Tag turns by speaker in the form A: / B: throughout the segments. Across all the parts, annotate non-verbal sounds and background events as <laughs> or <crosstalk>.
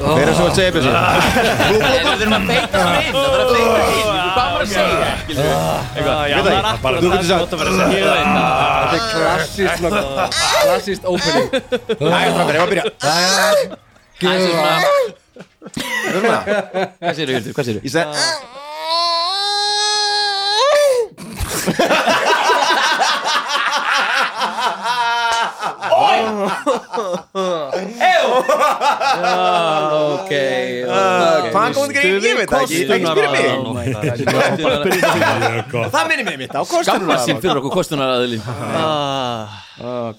A: Hver er svo að segja
B: Ah,
A: þessu?
B: Við þurfum að beita það inn, það þarf að beita það inn, hvað var að segja? Skilur við, eitthvað, já,
A: Ég veit
B: það
A: það
B: er
A: ekki.
B: akkurat
A: Þú
B: það
A: getur
B: sem
A: sagt-
B: gott að vera að segja. Ég veit það.
C: Þetta er klassist svona, klassist opening
A: Æja, strákar, ég var að byrja
B: Það er svona,
A: Við erum að
B: hvað séru, Hildur, hvað séru?
A: Ég segi
B: Ok,
A: Hvaðan kom þetta greið? Ég veit það ekki, ekki spyrja mig
B: mig.
D: Mjög gott
A: Það minnir mig mitt á kostum
B: Gammar sín fyrir okkur kostunaraðilin.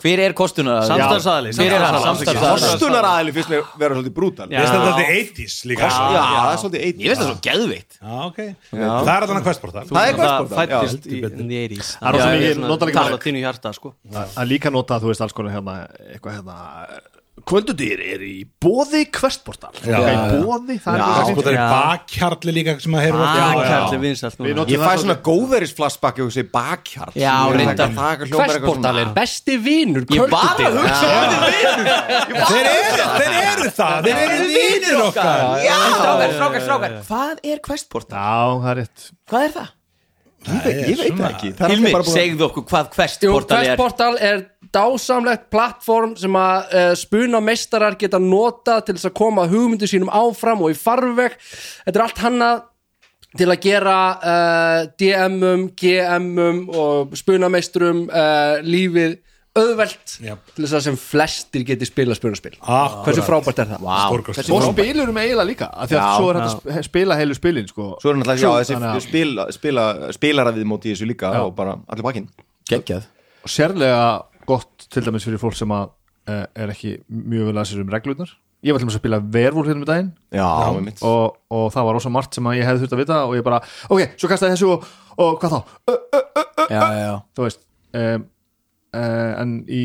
B: Hver er kostunaraðilin?
E: Samstarfsaðili.
B: Hver er hann? Samstarfsaðilin.
A: Kostunar aðli finnst mér vera svolítið brútal Já,
D: Ég stend alltaf 80s líka
A: það er svolítið eitt
B: Ég veist það svo geðveitt.
D: Já, ok Það er alltaf questportal
A: Það er
E: Það
A: kostum
E: fættist í nýrís
F: Það er rosa mikið- notar líka
E: Tala
F: mörg.
E: tínu hjarta sko
F: að líka nota þú veist alls konar hérna eitthvað hérna kvöldudýr er í bóði kvestportal
D: Já.
F: Það er í bóði, það er
D: Sko það er bakhjarli líka sem að
B: Ah,
D: heyra
E: Akkarli vinsalt
F: Við
E: núna
F: notum það
A: Ég fæ svona
F: svolítið.
A: góðveris flashback og segi bakhjarl
E: Já, reyndar.
F: Questportal
A: Hversportal
F: er besti vinur
E: Ég var að
F: kvöldudýr
E: hugsa
D: Þeir eru, þeir eru það, þeir eru vinir okkar
B: Já, strákar, strákar, strákar. Hvað er questportal?
F: Já, það er rétt
B: Hvað er það?
A: Ég veit það ekki Það er
B: Hilmi,
A: allir bara búin
B: segðu okkur hvað
C: Jú,
B: questportal er.
C: Questportal er dásamlegt plattform sem að uh, spuna meistarar geta notað til þess að koma hugmyndu sínum áfram og í farveg þetta er allt hannað til að gera uh, DM-um, GM-um og spunameisturum uh, lífið auðvelt
D: Jep.
C: til þess að sem flestir geti spila spunaspil
D: Akkurat.
C: hversu frábært er það?
B: Vá,
D: Stórkostlegt.
F: Og spilurum eiginlega líka af Því að
A: Já.
F: svo er hægt að sp- spila heilu spilin sko.
A: Svo er náttúrulega, já, þessi
F: Þannig að-
A: spila, spila, spilara við móti í þessu líka og bara allir bakinn
B: Geggjað.
F: og Sérlega gott til dæmis fyrir fólk sem að eh, er ekki mjög vel að sér um reglurnar Ég var til dæmis að spila vervúl hérna um daginn
A: Já, með mitt
F: og, og það var rosa margt sem að ég hefði þurft að vita og ég bara, ok, svo kastaði þessu og, og hvað þá, Ö,
B: Já, já.
F: þú veist um, uh, en í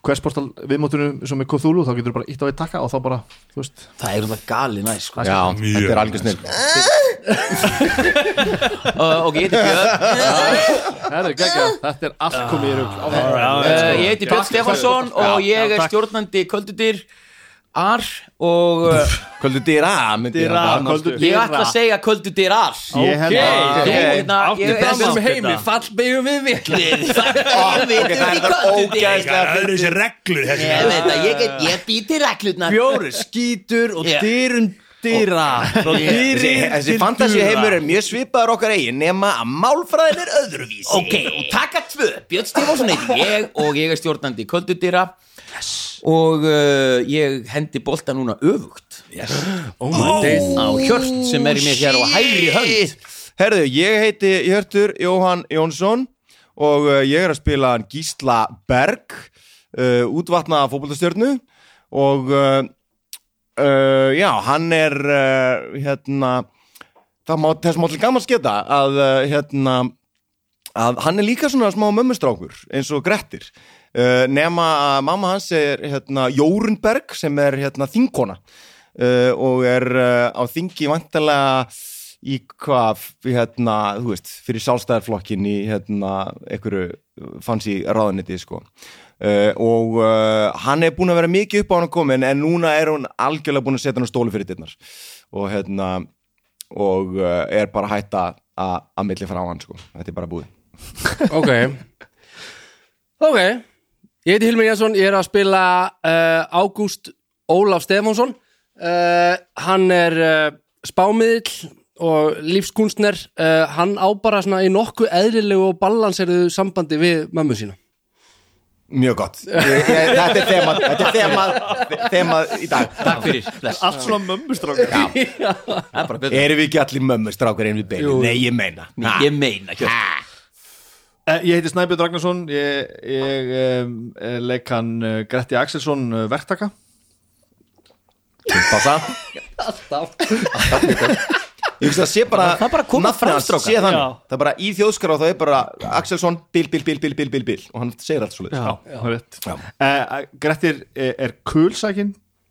F: questportal viðmótinu sem er Cthulhu þá getur þú bara ítt á eitt takka og þá bara, þú veist
B: Það er um það gali næ, sko.
A: Já,
D: Mjög
A: þetta er algjör snill
B: Uh, ok, ég heiti Björn
F: Herri, gegja, þetta er allt komið í rauk
B: uh, Ég heiti Björn Stefansson og ég er stjórnandi köldudýr Ar og uh,
A: Kvöldu dýra, myndi ég halda.
B: ég ætla að segja köldudýr Ar
F: Ég held
B: Þú,
F: að
B: hérna, ég er
E: Best um
B: með
E: heimi, fallbegum við vitli <laughs>
B: Ég veit
A: Það er
B: ekki
A: það
B: köldudýr
A: ógæðslega
D: Það eru þessi reglur þessi
B: Ég veit að ég, get- ég býti reglurnar
E: Bjóri skítur og
B: Já.
E: dyrun dyrra Frá
A: Þessi,
E: dyrinn
A: þessi
E: til
A: fantasi heimur
E: dyra.
A: er mjög svipaður okkar eigin nema að málfræðin er öðruvísi
B: Ok, og taka tvö Björn Stefansson heiti ég og ég er stjórnandi köldudýra yes. og uh, ég hendi bolta núna öfugt yes. Oh, á hjört sem er í mér hér á hægri hönd
A: Herðu, ég heiti Hjörtur Jóhann Jónsson og uh, ég er að spila hann Gísla Berg uh, útvatna fótboltastjörnu og uh, uh, já, hann er uh, hérna það má, þess má til gaman sketa að uh, hérna að hann er líka svona smá mömmustrákur eins og Grettir uh, nema að mamma hans er hérna, Jórunberg sem er hérna, þingkona uh, og er uh, á þingi vantarlega í hvað hérna, þú veist, fyrir sálstæðarflokkin í hérna, einhverju fancy ráðuniti sko. Uh, og uh, hann er búin að vera mikið upp á hann að komin en núna er hún algjörlega búin að setja hann á stóli fyrir dittnar og hérna og uh, er bara að hætta að að milli frá hann sko, þetta er bara búið
C: Ok Ok Ég heiti Hilmir Jensson, ég er að spila uh, Ágúst Ólaf Stefánsson uh, Hann er uh, spámiðill og lífskunstner uh, Hann á bara svona í nokkuð eðlilegu og balanseruðu sambandi við mömmu sína
A: Mjög gott ég, ég, Þetta er þemað Þetta er þemað Þemað í dag
B: Takk fyrir, bless
F: allt svona mömmustrákar
B: Það er bara betra
A: Erum við ekki allir mömmur strákar einu við beinu? Nei, ég meina
B: Ég meina hjört
F: Eh, Ég heiti Snæbjörn Ragnarsson ég, ég um, leik hann uh, Gretti Axelsson uh, verktaka
A: Passa Ég veist að sé bara
B: Það er bara að koma
A: nafnið
B: fram,
A: hans
B: strákar.
A: sé þannig.
E: Já.
A: Það er bara í þjóðskara og það er bara Axelsson, bíl, bíl, bíl, bíl, bíl, bíl, bíl og hann segir allt svo leiðis Já.
F: uh, Grettir er, er kulsækin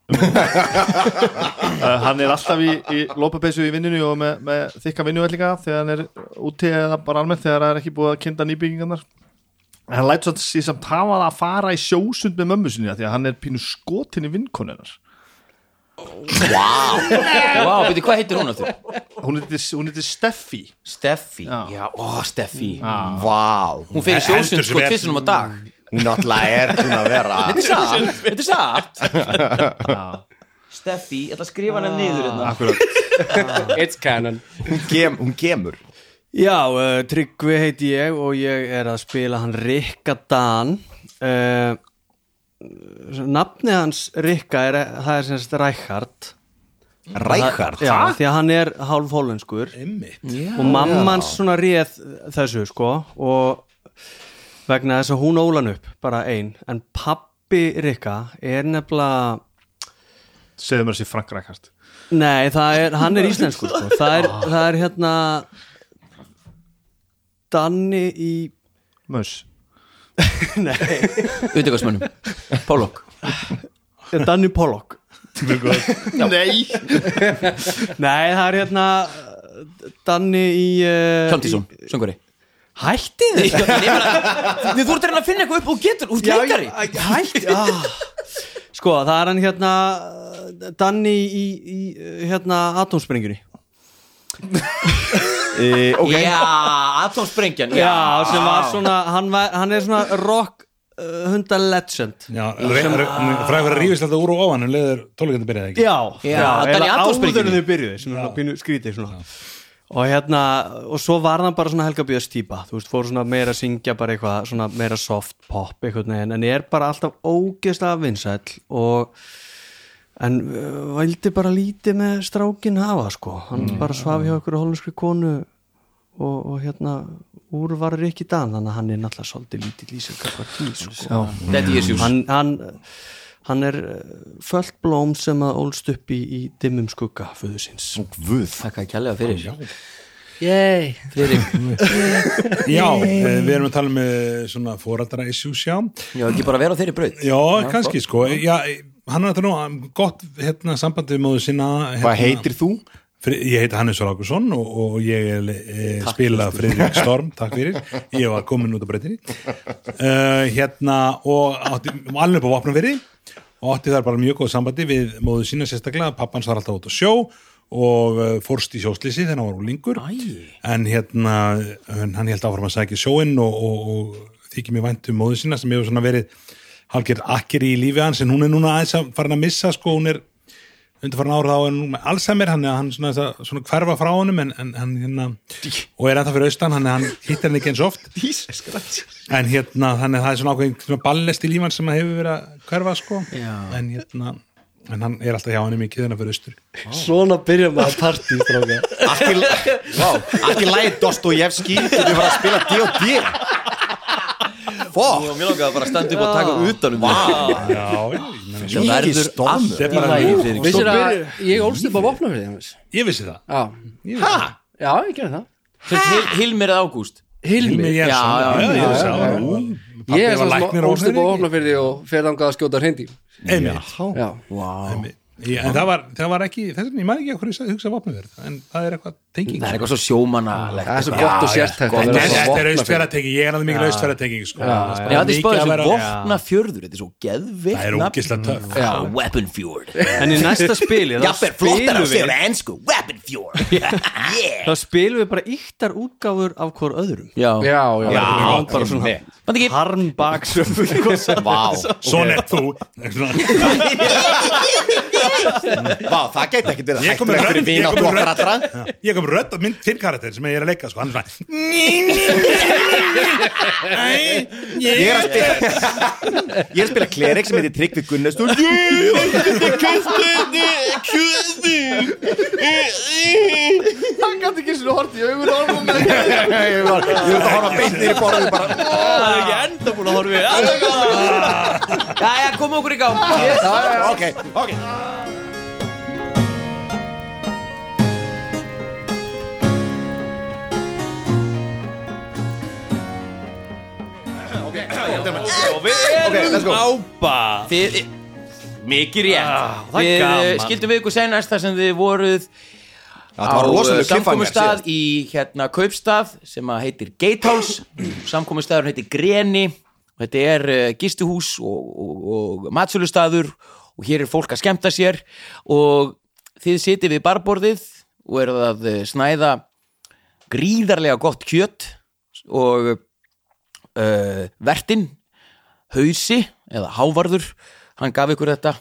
F: uh, Hann er alltaf í, í lópapeysu í vinninu og með, með þykka vinnuvellinga þegar hann er úti eða bara almennt þegar hann er ekki búið að kynna nýbyggingarnar En hann lætur svo sér samt hafa það að fara í sjósund með mömmu sinni af því að hann er pínu skotin í vinkonunnar
B: Vá, beti, hvað heitir hún aftur?
F: Hún heitir, hún heitir Steffi
B: Steffi, Ah. já, Mm. ó, Steffi Vá, hún fer í
D: Heldur
B: sjónsund sko
D: sem er-
B: tvissunum á dag
A: Hún náttúrulega er hún að vera
B: Þetta er satt, þetta er satt <laughs> Steffi, ég ætla að skrifa hana niður hérna
C: It's canon
A: Hún, kem, hún kemur
E: Já, uh, Tryggvi heiti ég og ég er að spila hann Rikka Dan uh, Nafni hans Rikka er, það er semst Rækard
A: Rækard
E: Já, því að hann er hálf hollenskur
D: Einmitt.
E: og mamma hans svona réð þessu sko og vegna þess að hún ól hann upp bara ein, en pappi Rikka er nefnilega
F: segðu mér þessi frankrækast
E: Nei, það er, hann er íslenskur sko. það, er, það er hérna Danni í <laughs>
F: Möss
B: Utegásmönnum, Pólok
E: Danni Eh, Pollock
F: Nei
E: Nei, það er hérna Danni í uh,
B: Hjaltísson, <laughs> söngari
E: Hætti
B: Nei,
E: þið?
B: ég meina, Þú ert að reyna að finna eitthvað upp og þú getur, þú ert leikari
E: Hætti ah. Sko, það er hann hérna Danni í, í eh, hérna atomsprengjunni
A: e, okay.
B: Já, atomsprengjan
E: Já, sem var svona hann, var, hann er svona rock uh, hunda legend
D: Já, fræður að rífist alltaf úr og ofan um leiður tólikandi byrjaði ekki
E: Já,
B: Já, Danni
E: eða
B: atomsprengjunni.
E: áður en þau byrjuði sem er svona pínu skrítið svona Og hérna, og svo var hann bara svona Helga Björns típa, þú veist, fór svona meira að syngja bara eitthvað, svona meira soft pop einhvern veginn, en er bara alltaf ógeðslega vinsæll og en uh, vældi bara lítið með strákin hafa, sko hann bara svaf hjá ykkur hollenskri konu og, og hérna úr var Rikki Dan, þannig að hann er náttúrulega svolítið lítið lýsir kakvar tíð, sko
B: Þetta er Jesus
E: hann, hann, hann er fullt blóm sem að ólst upp í, í dimmum skugga föðu síns
A: Guð
B: Takk að kjallega fyrir
E: Yay.
D: Já, eh, við erum að tala með svona fóraldara issues, já
B: Já, ekki bara vera á þeirri braut
D: Já, kannski sko já, Hann er þetta nú gott hérna, sambandi við móðu sína hérna,
A: Hvað heitir þú?
D: Fri- Ég heiti Hannes Rákusson og, og ég er, e, spila Friðrik Storm, takk fyrir, ég var komin út á breytinni, uh, hérna og átti, alveg upp á vopnafyrði og átti þar bara mjög góð sambandi við móðu sína sérstaklega, pappans var alltaf út á sjó og uh, fórst í sjóslýsi þegar hann var úlingur, en hérna en hann held áfram að sækja sjóinn og, og, og þykir mér vænt um móðu sína sem hefur svona verið halgjörð akkir í lífi hans en hún er núna aðeins að farin að missa sko, hún er undanfarn ára þá er nú með Alzheimer hann, hann svona, svona, svona hverfa frá honum en, en hann hérna og er ennþá fyrir austan, hann, hann hittir hann ekki eins oft en hérna, þannig að það er svona ákveðin svona ballest í lífan sem að hefur verið að hverfa sko, Já. en hérna en hann er alltaf hjá hann mikið þannig að fyrir austur
E: Svona byrja maður partí stráka.
A: Allt í lagi Dostojevski Þú var að spila D&D Fokk
B: Mér langaði bara að standa upp og taka
A: um
B: utanum <laughs> wow.
D: Já, ég, meina,
B: Það verður
A: stormur.
B: allt í lagi fyrir
C: Vissir að ég ólst upp á vopnafrið Já,
D: ég vissi það
C: já, ég gerði það
B: Hilmir eða Ágúst
C: Hilmi,
D: Hilmi
B: Já,
D: Jensson,
B: já,
D: já, ég vissi það
C: Ég er
D: pappi var
C: svona
D: læknir á
C: sem ólst upp á
D: Horneyri.
C: vopnafrið og fer þangað að skjóta hreindi
D: einmitt
C: Já,
D: Já, en það var, það var ekki, þess vegna ég maður ekki okkur að hugsa vopnaverð, en það er eitthvað tenging
B: Það er eitthvað svo sjómanalegt
C: það er svo gott og sértækt að vera
D: Þetta er
C: svona vopnafirði.
D: austfjörðatenging, ég er alveg mikil austfjörðatenging sko. Það
B: Já, þetta er
D: mikið
B: spáðið
D: að
B: svo
D: vera-
B: vopna fjörður Þetta er svo geðvikt
D: Það er ógislega
B: Mm,
D: töff
B: Weapon fjord
E: En í næsta
B: <laughs>
E: spili þá
B: Jafnir flottar að
E: spilum, við,
B: segja ennsku Weapon fjord Yeah
E: þá spilum við bara yktar útgáfur af hver öðrum
B: Já,
C: Já, já, já
E: bara svona
B: Bandi ekki
E: harm baksöf
A: Vá,
D: Svona er þú
B: <laughs>
A: Vá, það gæti ekki verið
D: Ég kom með
A: hættulegt fyrir
D: rödd, ég
A: vina og
D: kom með
A: okkar
D: rödd.
A: allra
D: Ég kom rödd og mynd fyrir karakter sem ég er að leika sko. Hann er svona
A: Ég er að spila Ég er að spila klerik sem heitir Tryggvi Gunnestúl
F: Hann gæti ekki svona hort í augun á hann
A: Ég var ég var að horfa beintir í borðið bara
B: Það er ekki enda búin að horfa við Já, já, komum okkur í gang
A: Ok, ok Ok, let's go
B: Þið, mikið rétt Við eh, skildum við ykkur senast þar sem þið voruð
A: Það var
B: uh,
A: rosalega kliffangast
B: samkomustad eh, í hérna kaupstað sem að heitir Gatehouse eh, samkomustadur heitir Greni og þetta er uh, gistuhús og, og, og matsölustadur og hér er fólk að skemmta sér og þið sitið við barborðið og eruð að eh, snæða gríðarlega gott kjöt og uh, vertin hausi eða hávarður hann gaf ykkur þetta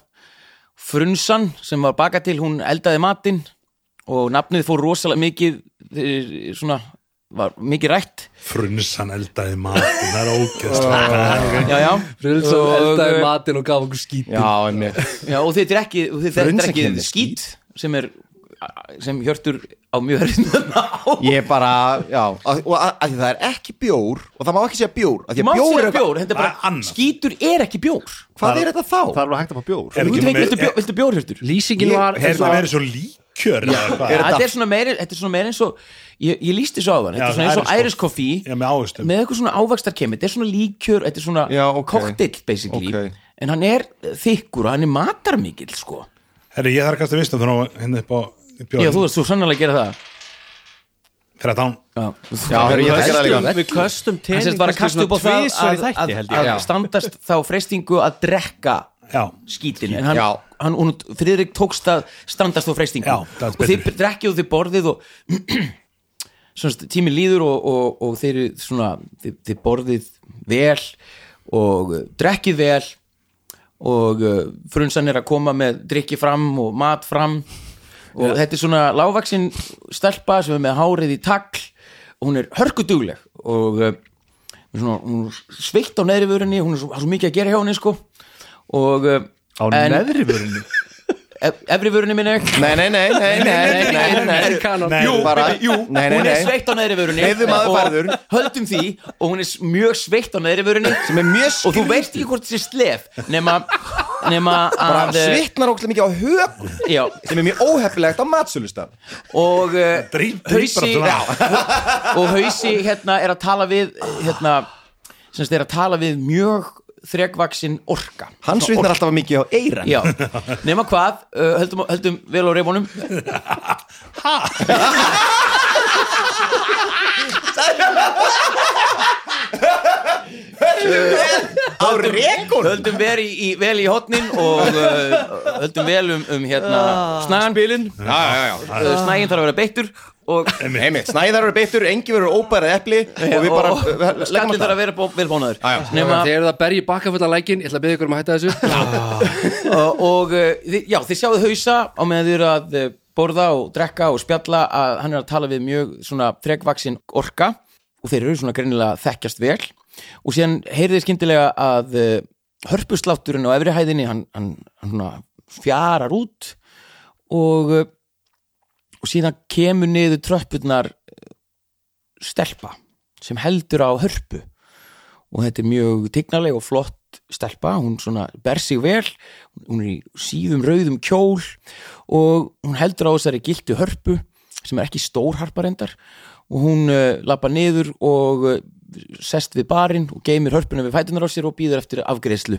B: frunsan sem var baka til, hún eldaði matinn og nafnið fór rosalega mikið eh, svona, var mikið rætt
D: Frunsan eldaði matinn, það er
B: <laughs>
D: ógeðslega
B: já, já,
C: Rulsson
B: Og,
C: eldaði
B: eh,
C: matinn og gaf okkur skíti
A: Já, einmitt
B: já og þetta er ekki, og þið þetta er
A: Frunsakenndi
B: ekki skít sem er sem hjörtur á mjög erfiðan á
A: Ég bara, já að, Og að, að því það er ekki bjór Og það má ekki segja bjór að Því að
B: Má
A: bjór
B: segja
A: er eitthvað
B: bjór, þetta er
D: Það er
B: bara
D: annað.
B: skítur er ekki bjór
A: Hvað er þetta
F: Það
A: þá?
F: er alveg hægt að fá bjór
D: Er
B: Þú
D: ekki
B: tekur,
D: meir-
B: viltu bjór, viltu bjór hjörtur?
C: Lýsingin
A: Ég-
C: var
D: Er það verið svo líkjör eða hvað?
A: er
B: Þetta
A: þetta-
B: er svona meiri, þetta er svona meiri eins og ég, ég lísti svo á hann, þetta
D: Já,
B: er svona eins og
D: Irish
B: Irish coffee
D: Já, með ávöxtum
B: með eitthvað svona ávakstar kemur, þetta er svona líkjör þetta er svona
A: Já, ok.
B: cocktail basically
A: Ok.
B: en hann er þykkur og hann er matarmikill sko,
D: Herri, ég þarf að kasta vistum þannig að hérna upp á
B: já þú
D: bjóðin
B: veist, þú sannlega að gera það
D: Fyrir að tán
B: já,
A: Já, herri, ég þekki það líka.
E: Við köstum
B: um, hann
E: tening
B: sérst bara að kasta upp á það að, að,
E: held
B: að
E: ég
B: standast þá freystingu að drekka
D: Já,
B: skítin en hann,
A: Já.
B: hann hún, Friðrik tókst að standast á freystingu
D: Já, það er
B: og þið
D: betur.
B: drekkið og þið borðið og <clears throat> svona, tíminn líður og, og, og þeir eru svona, þið, þið borðið vel og uh, drekkið vel og uh, frunsan er að koma með drikki fram og mat fram og þetta er svona lágvaksin stelpa sem er með hárið í tagl og hún er hörkudugleg og uh, svona, hún er sveitt á neðri vörinni hún er svo, það er svo mikið að gera hjá henni sko og uh,
F: Á neðri vörunni
B: <laughs> ef, efri vörinni minni
A: Nei, nei, nei, nei, nei, nei, nei, nei, nei.
C: kanon
D: Nei.
A: Jú, bara, jú, nei, nei,
B: hún er
A: nei
B: sveitt á neðri vörunni
A: Heyrðu, maður
B: og
A: færður.
B: höldum því og hún er s- mjög sveitt á neðri vörunni
A: Sem er mjög
B: og þú
A: skrýtið.
B: veist ekki hvort þessi slef nema, nema
A: Bara
B: að eh,
A: svitnar ógæslega mikið á höfn
B: já,
A: Sem er mjög óheppilegt á matsölustan
B: og eh,
D: Drýp- drýpar
B: hausi
D: allt svona á.
B: og hausi hérna er að tala við hérna, sem sagt er að tala við mjög þrekvaksin orka
A: Hann
B: Svona
A: svitnar alltaf mikið á eiran
B: Já, nema hvað, uh, höldum, höldum vel á reyfunum
A: Á rekun
B: Höldum vel í, í, vel í hotnin og uh, höldum vel um, um hérna, snagan Spilin
A: Já, já, já
B: Snægin þarf að vera beittur og,
A: Einmitt, snæðar eru beittur, engi verður óbærið epli og við bara við- við- við- leggjum
B: skallin
A: alltaf
B: þarf
A: Ah,
B: að vera bó- vel bónaður
A: Já, já.
B: Nema,
C: Þeir eru það að berja bakkafullan lækin Ég ætla að beða ykkur um að hætta þessu
B: og, og uh, þið- já, þið sjáðu hausa á meðan þið eru að uh, borða og drekka og spjalla að hann er að tala við mjög svona frekvaksin orka og þeir eru svona greinilega að þekkjast vel og síðan heyrið þið skyndilega að uh, hörpuslátturinn á efri hæðinni hann, hann, hann svona fjarar út og uh, og síðan kemur niður tröppurnar uh, stelpa sem heldur á hörpu og þetta er mjög tignaleg og flott stelpa, hún svona ber sig vel hún er í síðum rauðum kjól og hún heldur á þessari giltu hörpu sem er ekki stór harpa reyndar og hún uh, lappa niður og uh, sest við barinn og geymir hörpuna við fætunar á sér og býður eftir afgreðslu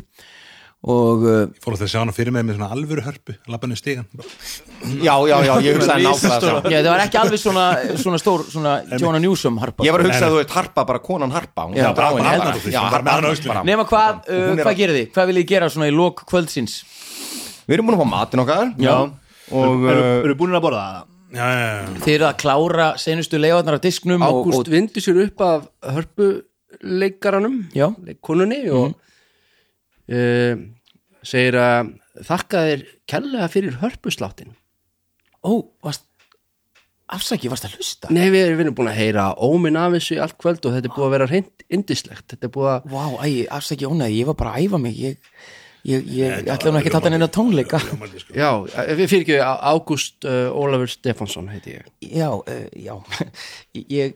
B: og uh,
D: Ég fór að það sjá hana fyrir mig með svona alvöru hörpu Lappan er stígan
A: Já, já, já, ég hugsaði nákvæmlega það
B: já, það var ekki alveg svona, svona stór svona Jonah Newsom harpa
A: Ég var að hugsa að þú veit harpa, bara konan harpa hún
B: Já,
A: bara á henni,
D: bara harpa,
A: bara-
D: þú finnst,
A: Já,
D: bara
A: harpa
D: með hana á
A: harpa,
D: hausnum.
A: bara.
B: Nema hvað, uh,
A: Hún er
B: hvað
A: að-
B: gerið þið? Hvað viljið þið gera svona í lok kvöldsins?
A: Við erum búin að fá matinn okkar
B: Já.
A: Og
F: Eru
A: uh,
F: eru búin að borða það?
D: Já, já, já
B: Þið eru að klára senustu leiðarnar af disknum og,
C: <laughs> Ágúst
B: og,
C: vindu sér upp af hörpuleikaranum
B: Já.
C: Konunni og
A: Mhm.
C: mm. segir að þakka þér kærlega fyrir hörpusláttin
B: Ó, varst Afsaki, varst að hlusta?
C: Nei, við erum, við erum búin að heyra óminn af þessu í allt kvöld og þetta er búið að vera reynd indislegt Þetta er búið að
B: Vá, æ, afsaki ónæði, ég var bara að æfa mig Ég, ég, ég ætla nú ekki að tata neina tónleika
D: Ljómandi, sko.
C: Já, eh, við fyrir ekki Ágúst uh, Ólafur Stefánsson heiti ég
B: Já, uh, já Ég,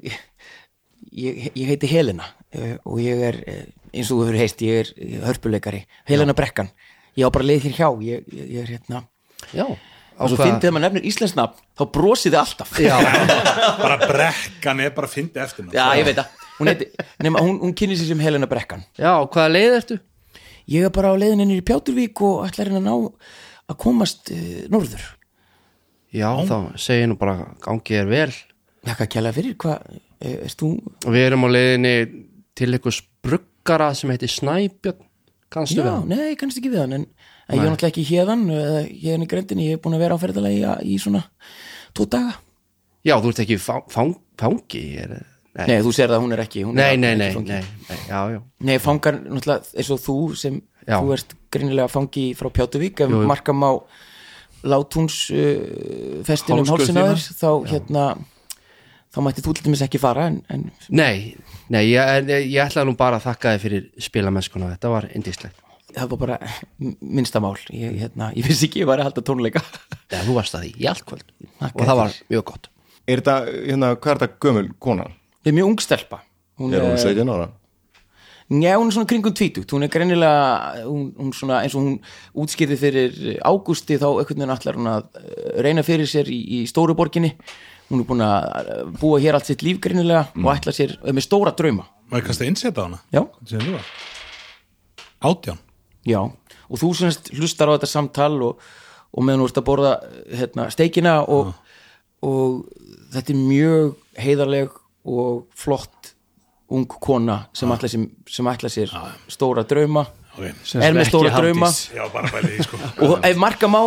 B: ég, ég heiti Helena uh, og ég er, uh, eins og þú hefur heist ég er eh, hörpuleikari, Helena Brekkan Ég á bara leið hér hjá, ég, ég, ég er hérna
C: Já,
B: Og svo fyndið að maður nefnir íslensnafn, þá brosið þið alltaf
D: Bara brekkan er bara að fyndi eftir hana.
B: Já, ég veit það Hún, heiti, nema, hún, hún kynni sér sem Helena Brekkan
C: Já, hvaða leið ertu?
B: Ég er bara á leiðinni niður í Pjáturvík og ætla henni að ná að komast uh, norður
C: Já, þá segi ég nú bara gangi þér vel
B: Þakka kjælega fyrir, hvað, eh, erst þú?
C: Við erum á leiðinni til einhvers bruggara sem heitir Snæbjörn kannstu
B: Já,
C: við hann
B: nei, kannski ekki við hann en, en ég er náttúrulega ekki hérðan hérðan í grendinni, ég er búin að vera á ferðalagi í svona tvo daga
C: já, þú ert ekki fang, fang, fangi er, nei.
B: Nei, þú sér það að hún er ekki hún
C: Nei,
B: er
C: nei,
B: ekki
C: nei,
B: fangi.
C: nei, nei, já, já
B: Nei, fangar náttúrulega eins og þú sem
C: Já.
B: þú ert greinilega fangi frá Pjátuvík ef
C: Jú, jú.
B: markam á látúns uh, festin um hálsin á
C: Hálskurðina.
B: þér þá hérna þá mætti þú til dæmis ekki fara en, en
C: Nei, nei, ég, en eh, ég, ég ætlaði nú bara að þakka þið fyrir spilamennskuna, þetta var indislegt
B: það var bara minnsta mál ég, hérna, ég vissi ekki, ég var að halda tónleika
C: Já, þú varst að því í allt kvöld
B: Þakka
C: og það var
B: þér.
C: mjög gott
A: Er þetta, hérna, hvað er þetta gömul Eh, kona?
B: Ég er mjög ung stelpa hún
A: Er hún
B: er,
A: 17 ára?
B: njá, hún er svona kringum tvítugt hún er greinilega, hún, hún svona eins og hún útskýrði fyrir ágústi þá einhvern veginn allar hún að eh, reyna fyrir sér í, í stóru borginni hún er búin að eh, búa hér allt sitt líf greinilega og ætla sér eh, með stóra drauma
D: Má ég kannski innsetta hana?
B: já,
D: Hvað segir þú það? Átján
B: já, og þú semst hlustar á þetta samtal og, og meðan þú ert að borða eh, hérna, steikina og, og þetta er mjög heiðarleg og flott ung kona sem ætla sér, sem ætla sér stóra drauma
D: Ok,
B: er með
E: ekki
B: stóra
E: Hafdís.
B: drauma
D: já, bara bæli því sko
B: og ef marka má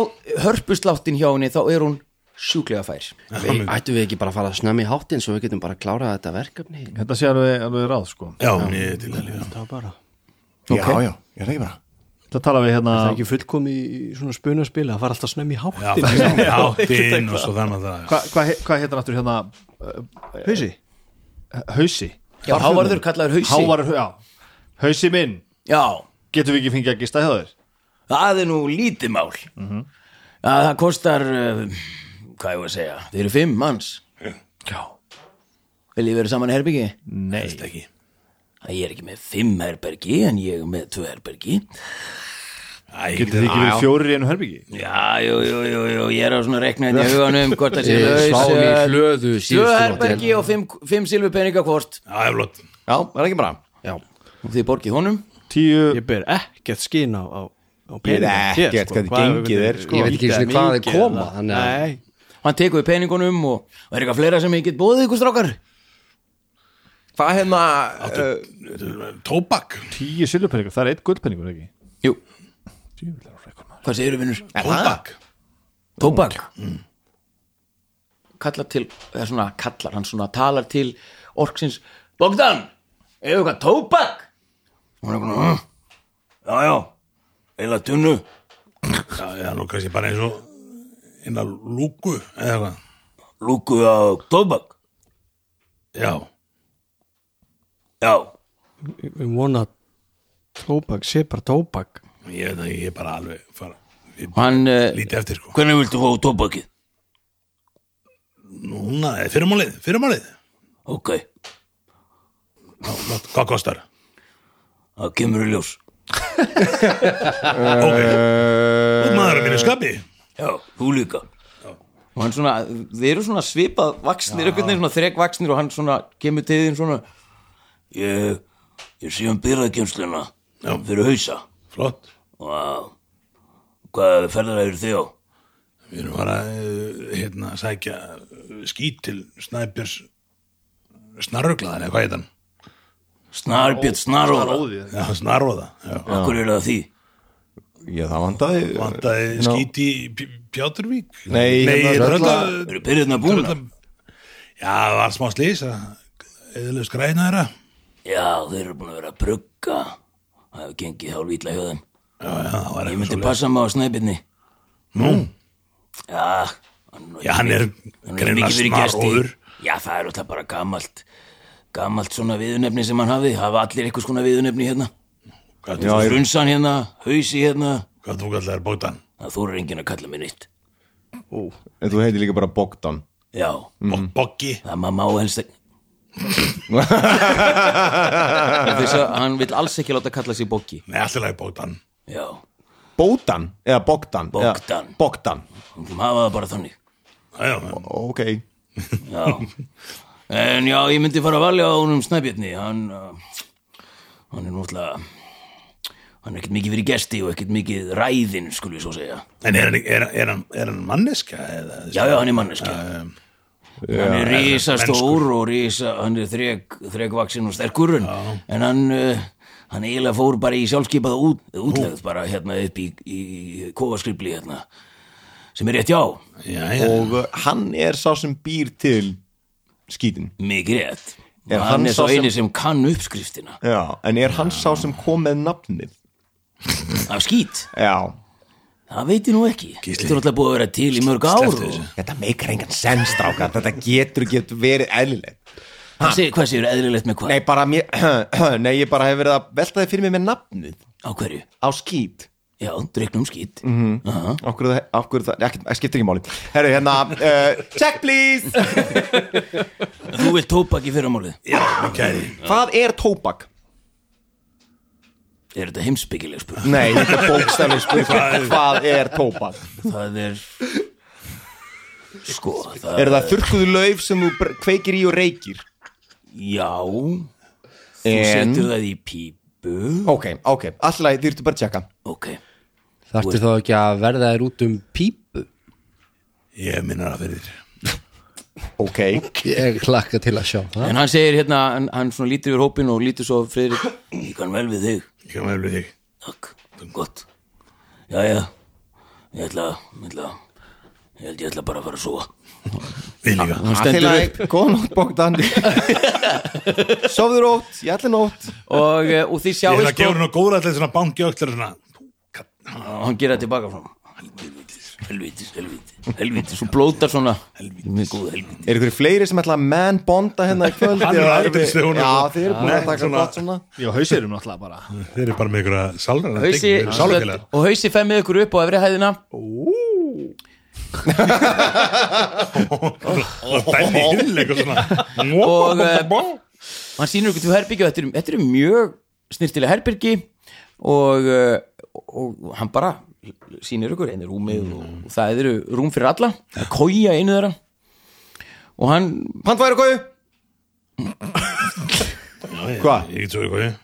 B: hörpusláttin hjá henni þá er hún sjúklega fær
D: Við-
C: Ættum við ekki bara að fara að snemma í hátinn svo við getum bara að klára þetta verkefni
F: Þetta sé alveg, alveg ráð sko
D: Já, mér til að lífa
E: það var bara
A: Já, já, ég er það ekki bara
F: Þetta tala við hérna
E: það er ekki fullkomi í svona spunaspila það var alltaf snem í
D: Já,
E: háttin
D: það er áttin og svo þannig að það
F: Hvað hva, he- hvað heitir aftur hérna
E: hausi
F: Hausi
B: Já, Hávarður kallaður Hausi.
F: Hávarður, já Hausi minn
B: já,
F: Getum við ekki fengið að gista hjá þér?
B: það er nú lítið mál að það kostar uh, hvað ég var að segja, þið eru fimm manns já vil ég vera saman í herbyggi?
F: Nei
D: er ekki
B: Æ, ég er ekki með fimm herbergi en ég er með tvö herbergi
F: Getum þið ekki verið fjórir í einu herbyggi?
B: já, jú, jú, jú, jú ég er á svona <laughs> reknaðin í huganum hvort það sé
C: Við
B: laus,
C: sváum í
B: eh,
C: hlöðu síðustu
B: tvö
C: nótt,
B: herbergi og fimm, fimm silfurpeninga hvort
D: Já, ég er flott
A: Já, það er ekki bara
C: Já,
B: og þið borgið honum
F: Tíu
E: ég ber ekkert skinn á, á, á
A: Ég veit
E: peninga
A: ekkert hvernig gengið er, sko.
C: Ég veit ekki einu sinni hvað þeir koma, þannig að-
E: nei,
B: hann tekur við peningunum og, og er eitthvað fleira sem ég get bóðið ykkur strákar
A: Hvað hérna,
B: uh,
D: Tóbak
F: Tíu silvurpenningur, það er eitt gullpenningur ekki
B: jú,
F: Djöfull er hún frekkur, maður.
B: hvað segirðu vinnur?
D: Tóbak
B: tóbak Mm. kallar til, eða svona kallar hann svona talar til orksins Bogdan, hefur eitthvað tóbak? hún er eitthvað "Hm, já já, eila tunnu
D: Já, já, nú kannski bara eins og Einna lúku eða eitthvað
B: lúku á tóbak
D: Já,
B: já,
E: við vona að tóbak sé bara tóbak
D: ég veit ekki, ég er bara alveg fara Við
B: hann uh,
D: lítið eftir sko
B: hvernig viltu fá tóbakið?
D: Núna, eh, fyrirmálið, fyrirmálið
B: ok,
D: Já, flott. Hvað kostar?
B: það kemur í ljós
D: Ok, Þú maður að mínu skapi
B: já, þú líka og hann svona, þið eru svona svipað vaksnir, einhvern veginn svona þrekvaksnir og hann svona kemur til þín svona ég, ég sé um byrðakemsluna
D: Já.
B: fyrir hausa
D: Flott
B: og hvað ferðar eru þið á?
D: Við erum bara eh, hérna að sækja eh, skít til Snæbjörns snarruglaðan eða hvað heit hann?
B: Snarbjörn Snaróra
F: Ráði þér.
D: Já, snarróða. Já.
B: okkur eru það því
A: ég það vandaði
D: Vantaði
A: Ná.
D: skít í P- Pjáturvík?
A: Nei,
D: Nei
A: hérna,
D: trölla,
A: Trölla-
B: eru byrðina búna?
D: trölla- Já, það var smá slís að eðlust græna þeirra.
B: já, þeir eru búin að vera að brugga það hefur gengið hálf ítla hjá þeim
D: Já, já, það
B: ég
D: var eitthvað
B: myndi
D: svo leið.
B: passa mig á Snæbjörni
D: Nú,
B: já, hann nú
D: já, hann er
B: Hann hefur
D: greina
B: mikið verið gesti.
D: snarróður.
B: Já, það er alltaf bara gamalt gamalt svona viðunefni sem hann hafi hafa allir einhvers konar viðunefni hérna
D: Hvað
B: já, Runsan hérna, hausi hérna
D: hvað þú kallar bóttan?
B: það þú eru enginn að kalla mig nýtt
A: En þú heitir líka bara Bogdan
B: Já,
D: Mm. Boggi.
B: það maður má helst ekki Þess að hann vill alls ekki láta kalla sig Boggi
D: Nei, alltaf lagi bóttan.
B: Já,
A: Bótan, eða Bogdan eða-
B: Bogdan.
A: Bogdan,
B: hann vil hafa það bara þannig
D: Já, já, já.
A: ok
B: Já En já, ég myndi fara að valja á honum Snæbjörni Hann, uh, hann er náttúrulega Hann er ekkert mikið fyrir gesti og ekkert mikið ræðin, skulle við svo segja
D: En er, hann- er, er, hann- er hann manneska? Eða,
B: Já, já, hann er manneskja Hann er risastór og risa, hann er þreg, þregvaksin og sterkur en, en hann, uh, hann eiginlega fór bara í sjálfskeipaða út, útlegð bara hérna upp í, í kofaskripli hérna sem er rétt já,
D: já, já.
A: og uh, hann er sá sem býr til skítin
B: mikið rétt
A: Er
B: hann,
A: hann
B: er
A: sá
B: svo
A: sem-
B: eini sem kann uppskriftina
A: Já, en er hann sá sem kom með nafnið?
B: af skít,
A: Já
B: það veit ég nú ekki þetta er alltaf búið að vera til í mörg ár
D: Slepptu
B: og...
D: þessu.
A: Þetta meikar engan sens, strákar Þetta getur getur verið eðlilegt
B: Hvað segir- hvað séu eðlilegt með hvað,
A: Nei, bara mér <clears throat> Nei, ég bara hef verið að velta þið fyrir mér með nafnið
B: á hverju
A: Á skít
B: já, dryknum skít
A: Okkur það, okkur það, ekki, skiptir ekki máli Herru, hérna, uh, check please
B: þú vilt tóbak í fyrramálið
A: Hvað er tóbak?
B: er þetta heimsbyggileg spurning
A: Nei, þetta er bókstæðlega spurning Hvað er tóbak?
B: það er sko, það
A: Er það þurrkuðu lauf sem þú br- kveikir í og reykir?
B: já, þú
A: En-
B: setur það í pípu
A: Ok, ok, alltaf þið ertu bara að checka
B: ok,
C: Þarftu þá ekki að verða þér út um pípu
D: ég minna það fyrir
A: Ok,
C: Ég hlakka til að sjá það
B: en hann segir hérna hann, hann svona lítur yfir hópin og lítur svo á Friðrik ég kann vel við þig,
D: ég kan vel við þig
B: takk, gott já, já, ég ætla ég ætla, ég held ég ætla bara að fara að súa
D: við líka
B: hann
A: allt í
B: stendur upp
A: lagi. góða nótt <laughs> Bogdan Sofðu rótt, ég ætla nótt
B: og, eh, og þið
D: ég
B: sjáu
D: ætla að
B: sko
D: gefa hann á góðra allir svona banki og allir svona
B: og hann gera það tilbaka frá helvitis, helvitis, helvitis, helvitis og blótar svona helvitis, góð helvitis
A: Er ykkur fleiri sem ætla að man bonda hérna í kvöld?
D: <laughs> Hann er
A: Eða
D: aldrei
A: við-
D: stjórn.
A: Já, þið eru búin
D: Nei,
A: að taka
D: svona-
A: gott svona
F: Já, hausirum náttúrulega bara
D: þeir eru bara með ykkur að salra
B: hausi,
D: sálfélagar
B: og hausi femmið ykkur upp á efri hæðina
D: og dæmi hill eitthvað svona
B: Og, eh, og hann sýnir ykkur til herbyggju og þetta eru- þetta eru mjög snirtilega herbyggi og, uh, og hann bara sýnir ykkur einu rúmið og, og það eru rúm fyrir alla það er kója einu þeirra og hann,
A: Pantværi góðu Hva?
D: ég get svo eitthvað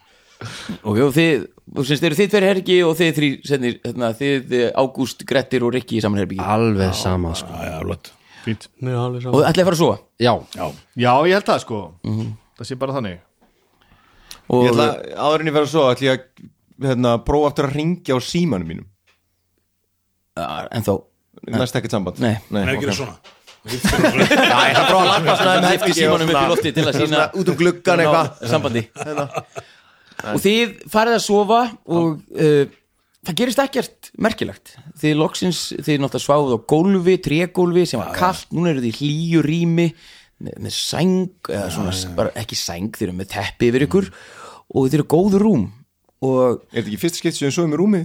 B: og jó, þið og semst eru þið tveir herbyggi og þið þrý senir, hérna, þið eh, Ágúst, Grettir og Rikki í saman herbyggi
C: Alveg sama sko
D: já, já, flott
F: Fínt
E: Mér er alveg
B: og
E: saman
B: ætlaði að fara að sofa
C: Já,
D: já,
F: Já, ég held það sko Það sé bara þannig
B: og
A: Ég ætla, áðurinn ég verið svo, ætla ég að hérna, prófa aftur að ringja á símanum mínum
B: Ja, en þá
A: Næst ekkert samband
B: Nei.
A: Nei,
D: það er
A: ok.
D: ekki það svona
A: Já, ég ætla að prófa að lappa svona um
B: Lyfti
A: herbergi
B: símanum
A: og
B: upp í
A: svona-
B: loftið til að
A: svona
B: sýna-
A: Út um gluggan eitthvað Hérna.
B: Ná sambandi og þið farið að sofa og uh, það gerist ekkert merkilegt þið loksins, þið náttúrulega sváðuð á gólfi trégólfi sem var kallt, núna eru þið í hlýju rými með, með sæng eða svona, bara ekki sæng, þið eru með teppi yfir ykkur og þið eru góð rúm og
A: Er þetta ekki fyrst skipt sem svo um í rúmi?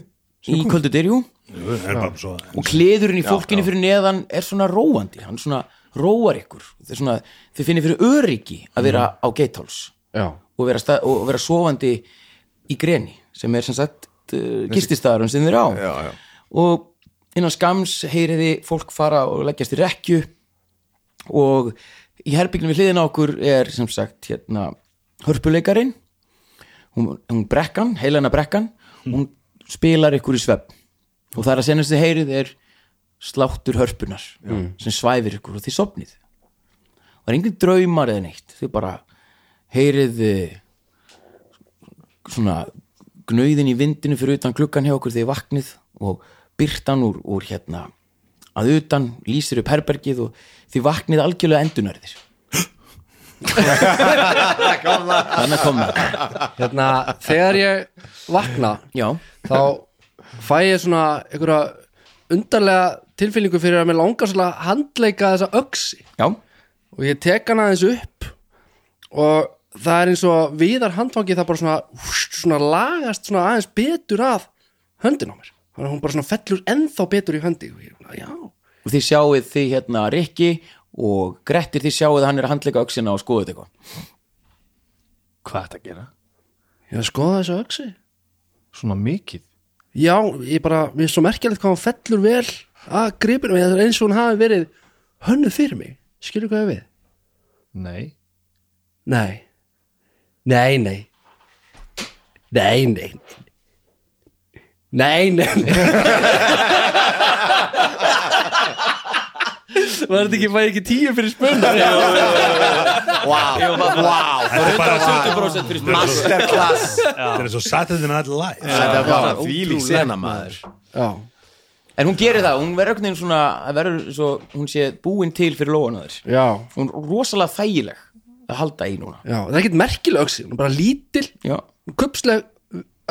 B: í kvöldu derjú
D: Jú, það er bara svo
B: og kleðurinn í fólkinu fyrir neðan er svona róandi, hann svona róar ykkur þið, svona, þið finnir fyrir öryggi að vera á geitháls
C: já
B: og vera, stað, og vera sofandi í greni sem er sem sagt uh, gististæðarum sem þeir á já, já. og innan skams heyriði fólk fara og leggjast í rekju og í herbyggnum við hliðina á okkur er sem sagt hérna hörpuleikarin hún, hún brekkan, heilana brekkan hún spilar ykkur í svepp og það er að senast þið heyrið er sláttur hörpunar sem svæfir ykkur og þið sopnið og það er engin draumar eða neitt þið bara heyrið eh, svona gnauðin í vindinu fyrir utan klukkan hjá okkur þegar vaknið og byrtan úr, úr hérna að utan lýsir upp herbergið og þið vaknið algjörlega endunarðir þannig að koma
C: Hérna, þegar ég vakna
B: já,
C: þá fæ ég svona einhverja undarlega tilfinningu fyrir að mér langar svolítið að handleika þessa öxi
B: já,
C: og ég tek hann aðeins upp og það er eins og viðar handfangi það bara svona, húst, svona lagast svona aðeins betur að höndin á mér þannig að hún bara svona fellur ennþá betur í höndi og ég, er svona, já,
B: og þið sjáuð þið hérna Rikki og Grettir þið sjáuð að hann er að handleika öxina og skoðuð eitthvað
F: Hvað er þetta að gera?
C: ég að skoða þessu öxi
F: Svona mikið
C: já, ég bara, mér er svo merkilegt hvað hann fellur vel að gripinu mig, það er eins og hún hafi verið hönnu fyrir mig, skilur hvað ég á við
F: Nei
C: Nei Nei, nei Nei, nei Nei, nei, nei. <laughs> Var þetta ekki, fæði ekki tíu fyrir spunnar?
A: Wow, wow
D: Þetta er bara
B: 120% fyrir spurning
A: Masterclass
D: Þetta er svo Saturday Night Live
A: Þetta var bara
E: ótrúlegt,
A: þvílík sena maður
C: Já.
B: En hún gerir það, hún verður ögnin svona það verður svo, hún sé búin til fyrir lóan á þér
C: Já.
B: Hún er rosalega þægileg að halda í núna
C: Já. Það er ekkert merkileg öksi, hún er bara lítil,
B: Já,
C: kupsleg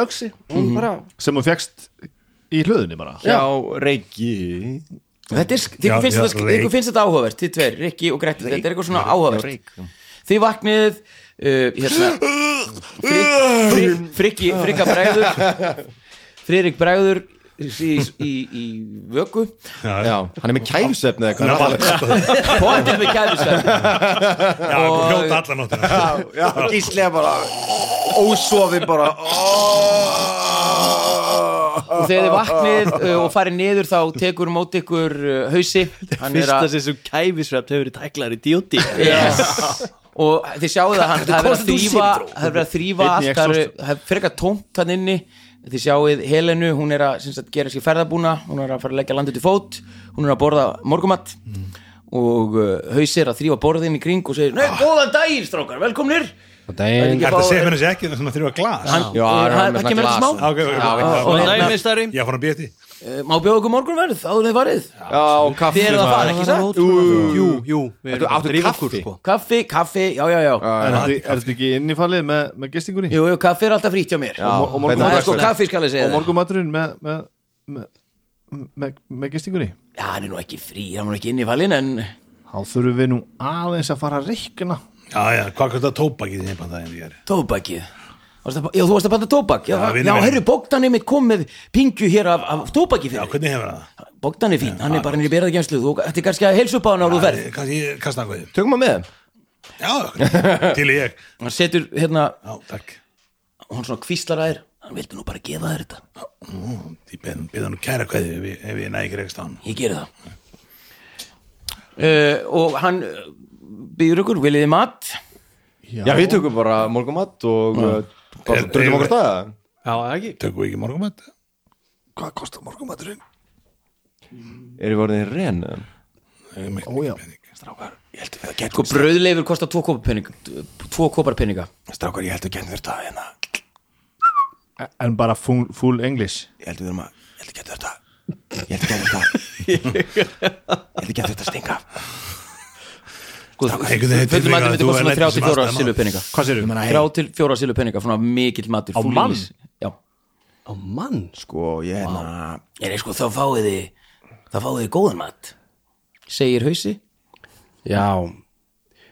C: öksi, hún bara...
F: sem hún fegst í hlöðunni bara
A: Já, Reykji
B: þetta er, þið
D: Já,
B: finnst,
D: já,
B: þetta-
D: Reyk.
B: ykkur finnst þetta áhugavert Þið tver, Rikki og Gretti, þetta er eitthvað svona áhugavert Þið vaknið uh, hérna, frik, frik, Frikki, Frikka bregður Friðrik bregður í, í, í vöku
A: Já, hann er með kæfsefni eða hvað
B: Póntið með kæðisverð
D: Já, og hljóta alla nóttina
A: Já, Gísli er bara ósofið bara
B: og þegar þið vaknið uh, og farið niður þá tekur mót ykkur uh, hausi hann er
E: Fyrsta
B: að
E: sem sem kæfisvept hefur verið tæklaður í djóti
B: yes. og þið sjáu það hann það er verið að þrýfa það er verið að þrýfa
F: Einnig
B: allt það eru- það er fyrir eitthvað tómt hann inni þið sjáuð Helenu, hún er að sem sagt, gera sér ferðabúna, hún er að fara að leggja landið til fót hún er að borða morgumatt
A: Mm.
B: og uh, hausi er að þrýfa borðin í kring og segir, nei,
A: Ah.
B: góðan daginn strákar, velkomnir
A: Dæn
D: Þetta segir mér þessi ekki, þannig að þurfa glas
B: Hann-
A: Já, hann er
B: hann-
A: með
B: það kemur
A: glas.
B: þetta smá,
D: Já, ok, ok, ok.
B: og
E: Og
B: hérna,
E: næmistari
D: Ég fór að býja því
B: eh, má bjóða okkur morgunverð áður en þið farið
A: Já, og kaffi
B: Þið eruð að
A: maður.
B: fara, ekki satt?
E: Jú, jú, við
A: Ertu-
E: erum að
A: áttu
E: drífa
A: kaffi?
E: okkur, sko.
B: Kaffi, kaffi, já, já, já
F: er þetta ekki innifalið með, með gestingunni
B: Jú, jú, kaffi er alltaf frýtt hjá mér
A: Já,
F: Og mo- og morgun-
A: þetta
B: Það
A: var
B: er sko
A: verslun.
B: kaffi skal ég segja
F: og
B: þér
F: morgumaturinn með, með, með, með, með gestingunni
B: Já, hann er nú ekki frí, hann er nú ekki inn í fallin En
F: þá þurfum við nú aðeins að fara að reikna
D: Já, já, hvað kostar tóbakið þín bandaginn ég er
B: tóbakið Varstu að- Já, þú varst að banta tóbak Já,
D: Já, vinur
B: já
D: minn.
B: herru, Bogdan er mitt kom með pingju hér af, af tóbaki
D: Já,
B: fyrir þig.
D: hvernig hefur það?
B: Bogdan er fín, hann er bara nýri beraðgjenslu Þú ætti kannski að heilsu upp á hann ára þú ferð
D: Kanski kasta hann góðið
A: Tökum maður með þeim
D: Já,
B: <laughs>
D: ok. til í ég
B: Hann setur, hérna,
D: Já, takk
B: hann svona kvíslar að þér Hann vildi nú bara gefa þér þetta
D: Ú, Ég byrða nú um kæra kveði ef ég- ef ég nægir ekki stán
B: Ég geri það uh, Og hann býður ykkur, viljið þið mat?
A: Já, við tökum bara morgumatt og uh, bara
D: Er-
A: drullum
D: er-
A: okkur staða
E: Já, ekki
D: Tökum við ekki morgumat? Hvað kostar morgumaturinn?
A: Erum við orðin ren?
D: Ójá Strákar, ég held að við
B: Sko, brauðleifur kostar tvo kopar peninga Tvo kopar peninga
D: Strákar, ég held að getum þetta hérna,
F: en bara full, full English
D: ég held að við erum að ég held að getum þetta ég held að getum
A: <laughs>
D: þetta ég held að getum þetta stinga
B: Sko,
D: Strákar, einhvern veginn
B: fullum
D: tilfinningar
B: matur myndi
D: að þú
B: kosta
D: er
B: svona
D: lætur
B: þrjá
D: sem
B: til fjóra
D: aðstæðan
B: silu
D: maður.
B: peninga
F: Hvað segirðu?
B: Þrjá til fjóra silu peninga, svona mikill matur Á
F: mann?
B: Já
E: Á mann
A: Sko, ég hérna
B: Er sko, þá fáið þið Þá fáið þið góðan mat Segir hausi
C: Já.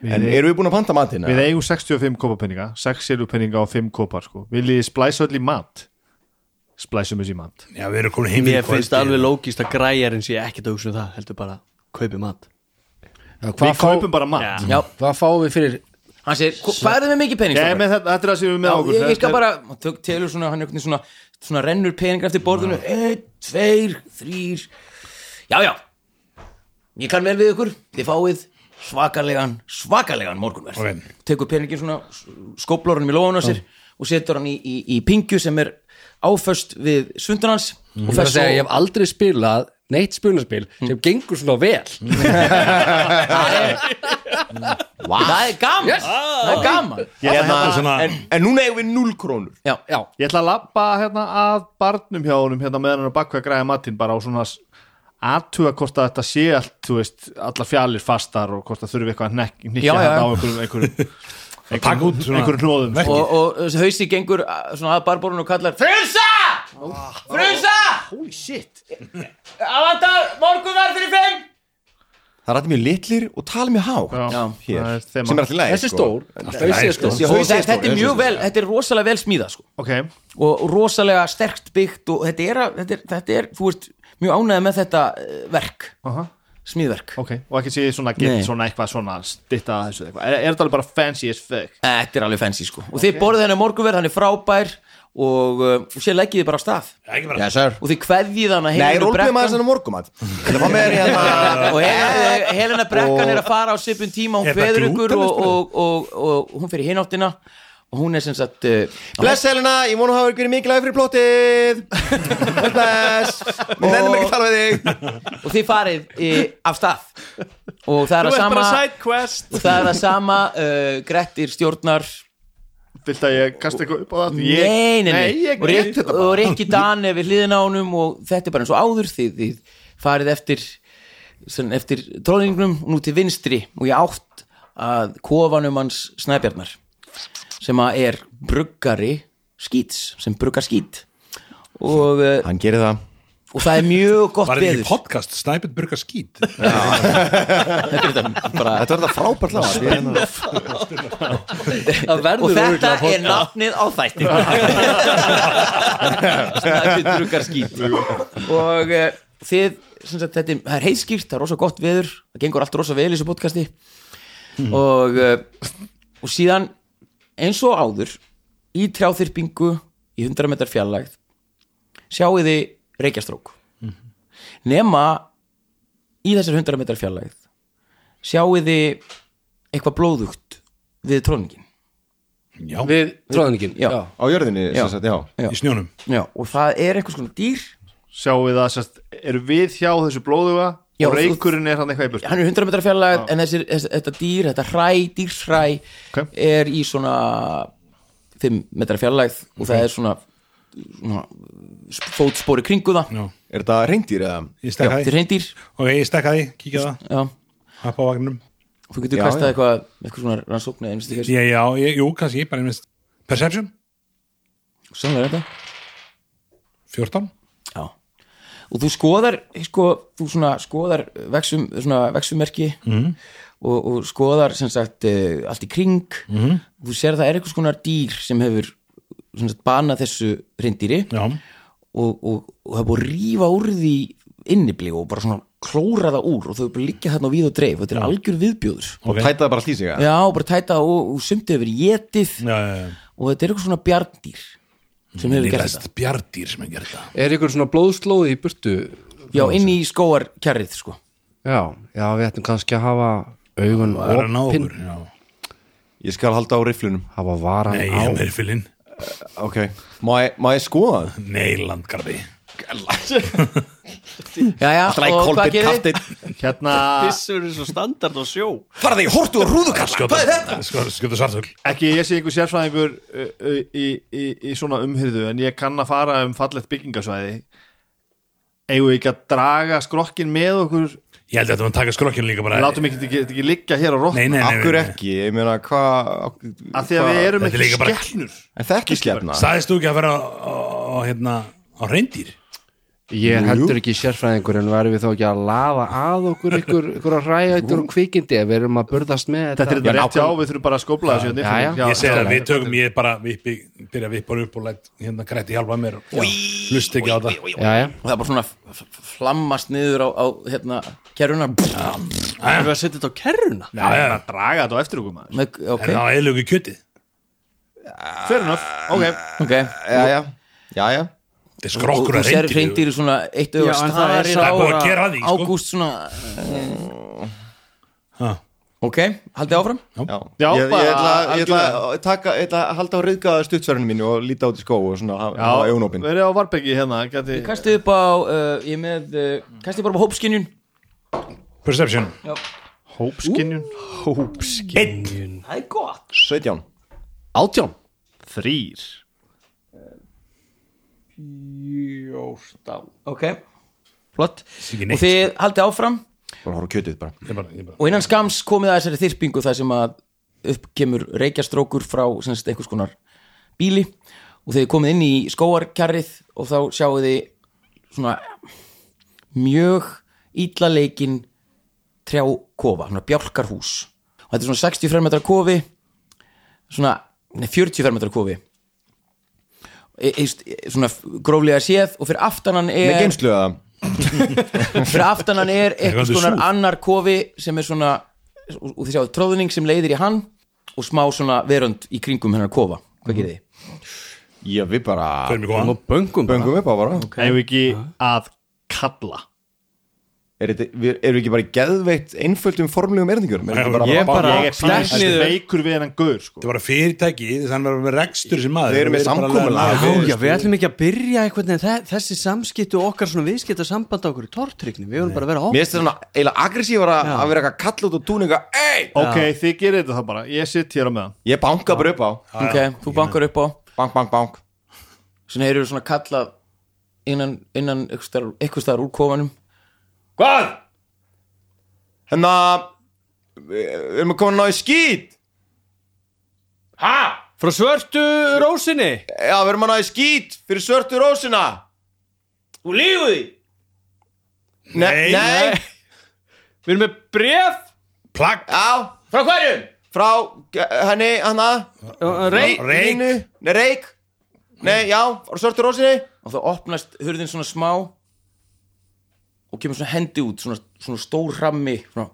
A: En erum við búin að panta matinn?
F: við
A: eða?
F: eigum 65 kópapenninga 6 silupenninga og 5 kópar sko. viljið þið splæsa öll í mat splæsum þessi í mat
D: já, við erum komin heim í
E: Mér
D: kvöld,
E: finnst
D: ég-
E: alveg lógist að græjarinn sé ekkert að hugsa um það heldur bara, kaupi mat
F: við kaupum bara mat
E: Já.
B: Já,
C: Hvað fáum við fyrir
B: hann segir, "Hva- hvað er þið með mikið pening?
F: Ég,
B: strákar?"
F: með þetta, þetta er það sem við erum með okkur
B: Já, ég, ég skal
F: Þetta er-
B: bara, hann tök telur svona, hann er einhvern veginn svona, svona rennur peningar eftir borðinu, einn, tveir, þrýr, já, já, ég kann vel við ykkur, þið fáið svakalegan, svakalegan morgunverð.
D: Ok.
B: Tekur peningin svona, skóplor honum í lóðan á sér og setur hann í, í, í pingju sem er áföst við svundunans
F: Mhm.
B: mm. og
C: Ég,
B: fer
C: segja, ég
B: svo,
C: hef aldrei spilað neitt spunarspil sem gengur svona vel
B: það er gaman, Ah. það er gaman.
D: Ég held að svona
A: En, en núna eigum við 0 krónur
B: Já,
C: Já,
F: Ég ætla að lappa hérna að barnum hjá honum hérna meðan hann er bakka að græða matinn bara á svona aðtuga hvort að þetta sé allt, þú veist, allar fjalir fastar og hvort að þurfi eitthvað að nekk-
B: Já,
F: hnykkja
B: já,
F: hérna
B: já.
F: á einhverjum
B: <laughs>
F: einhverjum,
D: Takk út
F: einhverjum,
D: svona
F: einhverjum hnóðum sko.
D: verkið.
B: og, og þessi hausi gengur uh, svona að barborun og kallar Frunsa! Frunsa! Holy shit! Avantar, morgunverð fyrir fimm!
A: Það er alltaf mjög litlir og tala mjög hátt
F: Já,
A: Hér,
F: það er þema.
A: sem er alltaf læg
C: þessi stór Þessi
D: læg,
C: er stór
A: Já,
B: Og
A: hausi er
B: þetta,
A: stór,
B: þetta er
A: hausi
B: mjög
A: stór.
B: vel, þetta er rosalega vel smíða sko.
F: Ok,
B: og og rosalega sterkt byggt og þetta er, að- þetta er, þetta er þú veist, mjög ánægð með þetta eh, verk
F: aha,
B: smíðverk.
F: ok og ekki sé svona, get,
B: Nei.
F: svona eitthvað svona stitta að þessu eitthvað, er, er þetta alveg bara fancy as fuck?
B: Eh, Þetta er alveg fancy sko. Og þið borðið henni morgunverð, hann er frábær og, uh, og sér leggið þið bara af stað
D: ekki bara
A: Já, sir
B: og þið kveðjið hann að
A: Nei,
B: Helenu
A: rólpið
B: Brekkan-
A: maður þessana morgumat Það var með þér hérna
B: <laughs> og Helena, Helena Brekkan er að fara á svipun tíma hún
D: Er það
B: kveður ykkur
D: glútenlaust
B: og, og, og, og, hún fer í hináttina og hún er sem sagt uh,
A: Bless Helena, ég vonu að hafa verið mikilvæg fyrir plottið Bless Við nennum ekki að tala við þig
B: og þið farið í, af stað og það er að
E: Þú ert
B: sama
E: bara sidequest
B: og það er að sama uh, Grettir stjórnar
F: Vilt að ég kasta eitthvað upp á það? Ég-
B: nei, nei, nei,
F: nei ég get
B: og, Rick,
F: þetta
B: og
F: bara
B: Rikki Dan er við hliðina á honum og þetta er bara eins og áður þið, þið farið eftir sem, eftir tróningnum og nú til vinstri og ég átt að kofanum hans snæbjarnar sem að er bruggari skýts, sem bruggar skýt og, eh,
A: Hann gerir það
B: og það er mjög gott
D: Var þetta ekki
B: beður
D: podcast, Snæbjörn Burga skýt
B: þetta er þetta bara
A: Þetta var þetta frábært lág
B: og þetta er nafnið á þætti <laughs> Snæbjörn bruggar skýt og uh, þið sem sagt, þetta er, það er heiðskýrt, það er rosa gott veður það gengur allt rosa vel í þessu podcasti Mhm. og, uh, og síðan eins og áður í trjáþyrpingu í 100 metrar fjarlægð sjáið þið reykjastrók nema í þessar 100 metrar fjarlægð sjáið þið eitthvað blóðugt við tróningin
D: Já,
C: Við tróðaningin
B: Já.
A: Á jörðinni,
B: Já.
A: sem sagt, já
D: í snjónum
B: Já, og það er eitthvað svona dýr
F: Sjáum við það, sérst, eru við hjá þessu blóðuga
B: Já,
F: og
B: þú-
F: reykurinn er hann eitthvað í burt
B: hann er 100 metrar fjarlæð en þessir, þess, þetta dýr, þetta hræ, dýrhræ
F: Ok.
B: er í svona 5 metrar fjarlæð og það er svona, svona sp- fótspor í kringu það
D: Já.
A: Er þetta reyndýr eða?
B: Já,
D: Ég
B: þetta
D: stekkaði,
B: er reyndýr
D: ok, ég stekkaði, kíkja það
B: já,
D: Happa á vagnum
B: þú getur
A: Já,
B: kastað
A: já.
B: eitthvað eitthvað svona rannsóknu eða einstaklega
D: Já, já, ég, jú, kannski, bara einmitt Perception,
B: sannlega er þetta
D: 14
B: já. og þú skoðar sko, þú svona skoðar vexum, svona vexummerki mm.
D: Mhm.
B: og, og skoðar sem sagt eh, allt í kring
D: Mhm.
B: mm. þú sér að það er eitthvað svona dýr sem hefur sem sagt, banað þessu reyndýri
D: Já,
B: og, og, og það er búið að rífa úr því innibli og bara svona klóra það úr og þau bara liggja þarna á við og dreif þetta er algjör viðbjóður
A: Og tæta það bara allt í sig eða?
B: já, og bara tæta og, og sumtið hefur verið getið
D: já, já, já
B: og þetta er eitthvað svona bjarndýr sem hefur gert
D: Lillast bjardýr sem er gert það
C: Er ykkur svona blóðslóði í burtu?
B: þetta já, inn í skóarkjarrið sko
C: Já, já, við ættum kannski að hafa augun
D: Það er að ná
C: opin
D: okkur, já
A: Ég skal halda á rifflunum
C: Hafa varan
D: Nei,
C: á
D: ég er meiri fylinn
A: Ok Má ég, má ég skoða það?
D: Nei, landgarfi
B: já, já, og hvað gerir þið?
F: Hérna,
E: Bissur er svo standard og sjó
A: Farði í hortu og rúðukalla
D: Skjóta, skjóta, skjóta svartögl
F: ekki ég sé einhver sérfræðingur uh, uh, í, í, í svona umhyrðu en ég kann að fara um fallegt byggingasvæði eigum við ekki að draga skrokkin með okkur
D: Ég held að þetta var að taka skrokkinu líka bara
F: látum ekki, ekki, ekki liggja hér á rótt
D: Nei, nei, nei, nei,
A: Akkur
D: nei.
A: ekki, ég meina hvað
F: af því að við erum
D: Þetta er
F: ekki
D: líka bara-
F: skellnur
A: En það er ekki skefna
D: Sæðist þú ekki að vera á, á, hérna, á reyndýr?
C: Ég er heldur ekki sérfræðingur en varum við þá ekki að laða að okkur ykkur, ykkur að ræja ykkur og kvikindi ef við erum að burðast með þetta
F: þetta er þetta rétt já, við þurfum bara að skópla þessu hérna
C: Já, já.
F: yfir. Já,
D: Ég segi
F: já,
D: það,
F: já.
D: við tökum, ég bara vippi, byrja að vippa upp og læt hérna grætti hjálpa mér og hlust ekki á það
C: Já, já,
B: og það er bara svona f- f- flammast niður á, á hérna, kjarruna
E: Erum við að setja þetta á kerruna?
D: Já, já,
F: að draga þetta á eftir okkur maður
D: en það
B: ok,
D: var eðlugu kjötið
F: fair enough, ok
B: ok
A: Jæja, jæja
D: Þetta er
B: og
D: skrokkur
B: þú
D: að
B: sér
D: reyndýr
B: reyndir svona eitt auðvitað
E: Já, en það er
B: starir
E: sá-
B: á
D: Það er búið að gera því, sko
B: ágúst svona Eh,
D: Ha.
B: ok, haldið áfram
A: Já,
F: Já,
A: ég, ég,
F: bara
A: ætla, ég, ætla,
F: algjörlega.
A: að taka, ég ætla að halda á rauðgaða stuttsverðinu mínu og líta út í skó og svona hafa hafa augun opin
F: verið á Varbeki hérna geti,
B: kastið upp á, uh, ég er með uh, kastið bara upp á hópskinjun
D: Perception
F: hópskinjun,
D: Einn
A: 17
C: átján
F: þrýr
B: ok, flott
D: Ekki
B: og
D: neitt.
B: þið haldið áfram
A: Bara horf á kjötið bara
D: Ég bara- ég bara-
B: og innan skams komið að þessari þyrpingu þar sem að upp kemur reykjastrókur frá semst einhvers konar bíli og þið komið inn í skóarkjarrið og þá sjáu þið svona mjög íllaleikin trjákofa, svona bjálkarhús og þetta er svona 60 fermetra kofi svona nei, 40 fermetra kofi e, e, svona gróflega séð og fyrir aftanan er
A: Með geimslu eða?
B: fyrir aftan hann er eitthvað
D: Eitthvað
B: skonar
D: súr.
B: annar kofi sem er svona og þið sjáu tróðning sem leiðir í hann og smá svona verönd í kringum hennar kofa hvað gerir þið?
A: Já, við bara
D: Förum í góðan
E: Og böngum bara
A: Böngum upp á bara
F: hefur ekki að kalla
A: er þetta, við, erum við ekki bara í geðveitt einföldum formlegum erðingjörnum er þetta bara,
E: Ég bara
F: ég er pínast veikur við hennan gaur sko.
D: er bara fyrirtæki, þannig að vera með rekstur sem maður
A: Þeir eru með
D: Þeir bara
A: samkomulag.
D: að laga
E: Já,
D: fyrir,
E: já, við
D: sko.
E: ætlum ekki að byrja einhvern veginn þe- þessi samskipti og okkar svona viðskipta samband okkur í tortrykni, við vorum bara að vera
A: mér
E: opn
A: finnst þetta svona eiginlega aggressívar að að vera eitthvað kall út og túninga Ey!
F: ok, þið gerir þetta þá bara, ég sitt hér á meðan
A: ég banka bara upp á
B: ok, þú bankar upp á
A: bank, bank, bank
B: svona heyrður svona kalla innan, innan einhvers staðar- einhvers staðar úr kofanum hvað?
A: hérna við erum að koma að ná í skít
B: ha?
E: Frá svörtu rósinni
A: já, við erum að ná í skít fyrir svörtu rósina
B: þú lígu því
A: nei, nei,
E: Við erum með bref
D: plagg,
A: já,
B: frá hverjum?
A: frá eh, henni, hana
E: Rey,
D: reik
A: Línu, nei, reik nei, já, frá svörtu rósini
B: og það opnast hurðin svona smá og kemur svona hendi út svona, svona stór rammi svona.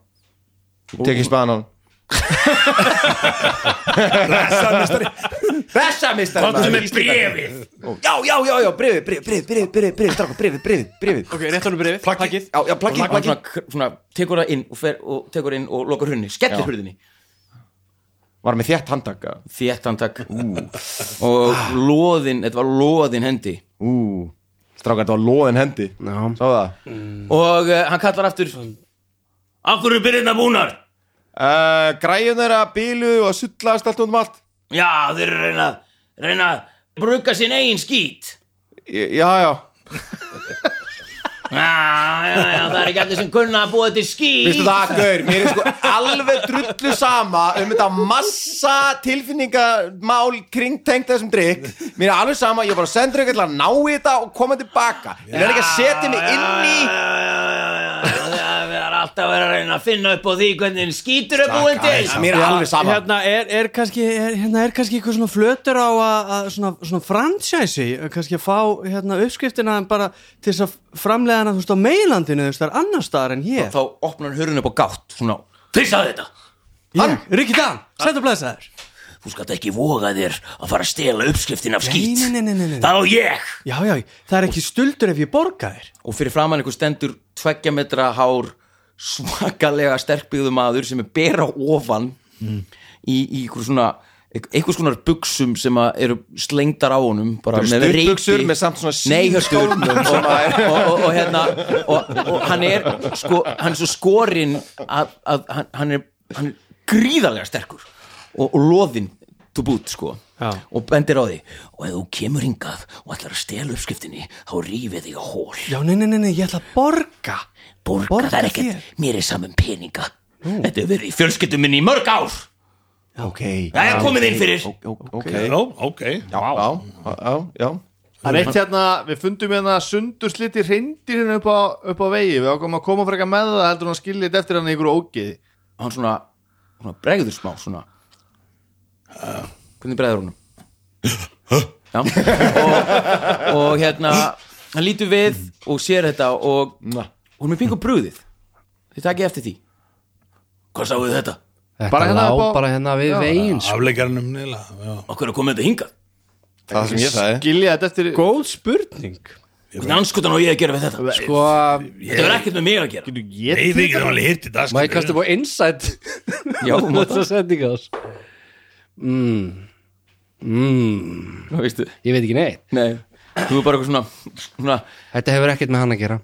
A: tekið spaðan á hann Bessa mistari
D: sem er brefið
A: Já, já, já, já, brefið, brefið, brefið, brefið, brefið, brefið, strákur, brefið, brefið, brefið
E: Ok, rétt honum bref, plakkið
A: Já, já, plakkið,
B: og hann
A: plakkið
B: svona, svona tekur það inn og, fer, og tekur inn og lokar hurðinni, skellir
A: Já.
B: hurðinni
A: Var með þétt handtak eða?
B: þéttantak og loðin, þetta var loðin hendi
A: Ú, strákur, þetta var loðin hendi Já Sá það
B: og uh, hann kallar aftur Akkur er byrðina búnar
A: uh, Græjun er að bílu og sullast allt um allt
B: Já, þeir eru að reyna, reyna að brugga sinn eigin skít
A: Í- Já, já
B: Já, já, já, það er ekki allir sem kunna að búa þetta í skít
A: Vistu það, Gaur, mér er sko alveg drullu sama um þetta massa tilfinningamál kringtengt þessum drikk Mér er alveg sama, ég er bara að senda ykkur til að ná í þetta og koma tilbaka Ég verð ekki að setja mig inn í
B: Það er alltaf að vera að reyna að finna upp á því hvernig skítur er búin til
A: Mér er alveg sama
E: Hérna er, er kannski, er, hérna er kannski eitthvað svona flötur á að, að svona, svona fransæsi, kannski að fá hérna uppskriftina en bara til þess að framlega hana, þú veist, á meilandinu, þú veist, það er annar staðar en hér.
B: Þá opnar hann hurðin upp á gátt svona, Fyrstaði þetta
E: Hann, Rikki Dan, sættu blæsaður.
B: Þú skalt ekki voga þér að fara að stela uppskriftin af skít
E: Nei, nei, nei, nei, nei, nei.
B: Það á ég
E: Já, já, það er ekki stuldur ef ég borga þér.
B: og fyrir framann einhver stendur tveggja metra hár svakalega sterkbyggðu maður sem er bera ofan í, í einhver svona einhvers konar buksum sem að eru slengdar á honum bara
A: Þetta
B: með
A: eru
B: reyti
A: stuttbuxur með samt svona um
B: Nei, hörstu,
A: síðskálmum
B: og, og, og, og hérna og, og hann er sko, hann er svo skorinn að, að hann, hann, er, hann er gríðarlega sterkur og, og loðinn to boot sko
E: Já.
B: og bendir á því og ef þú kemur hingað og ætlar að stela uppskiptinni þá rífið þig á hól
E: Já, nei, nei, nei, nei, ég ætla að borga.
B: borga,
E: Borga
B: það er ekkert,
E: þér.
B: mér er saman peninga þetta hefur verið í fjölskyldum minni í mörg ár
A: Ok
B: það er komið inn fyrir
A: Ok
D: Já, ok,
A: Já, já, já, já
F: Það er eitt hérna, við fundum hérna sundur sliti reyndir hérna upp á, upp á vegi við ákvæmum að koma frekar með það heldur hún að skilja þetta eftir hann í ykkur ógiði
B: hann svona, svona bregður smá svona Eh. hvernig bregður hún <laughs> já og, og hérna hann lítur við og sér þetta og hún er pingu brúðið þið takið eftir því hvað sáuðu þetta?
G: Þetta
F: Bara hérna
G: lá
F: upp á-
G: bara hérna við veginn sko.
D: afleikarnum nýla um já.
B: okkur er komið þetta hingað
A: Það sem ég sagði
F: Skilja þetta eftir
E: Góð spurning.
B: hvernig anskutan á ég að gera við þetta?
G: Sko,
B: þetta er ekkert með mig að gera
F: Getur
D: Nei,
F: ég
D: við getum alveg hirt í dag
G: maður kastum á
C: <laughs>
G: insight
B: Já,
G: um
B: má
G: þessa sendinga þess mm. Mm.
B: Nú veistu
G: Ég veit ekki neitt
B: Nei, þú er bara eitthvað svona, svona
G: Þetta hefur ekkert með hann að gera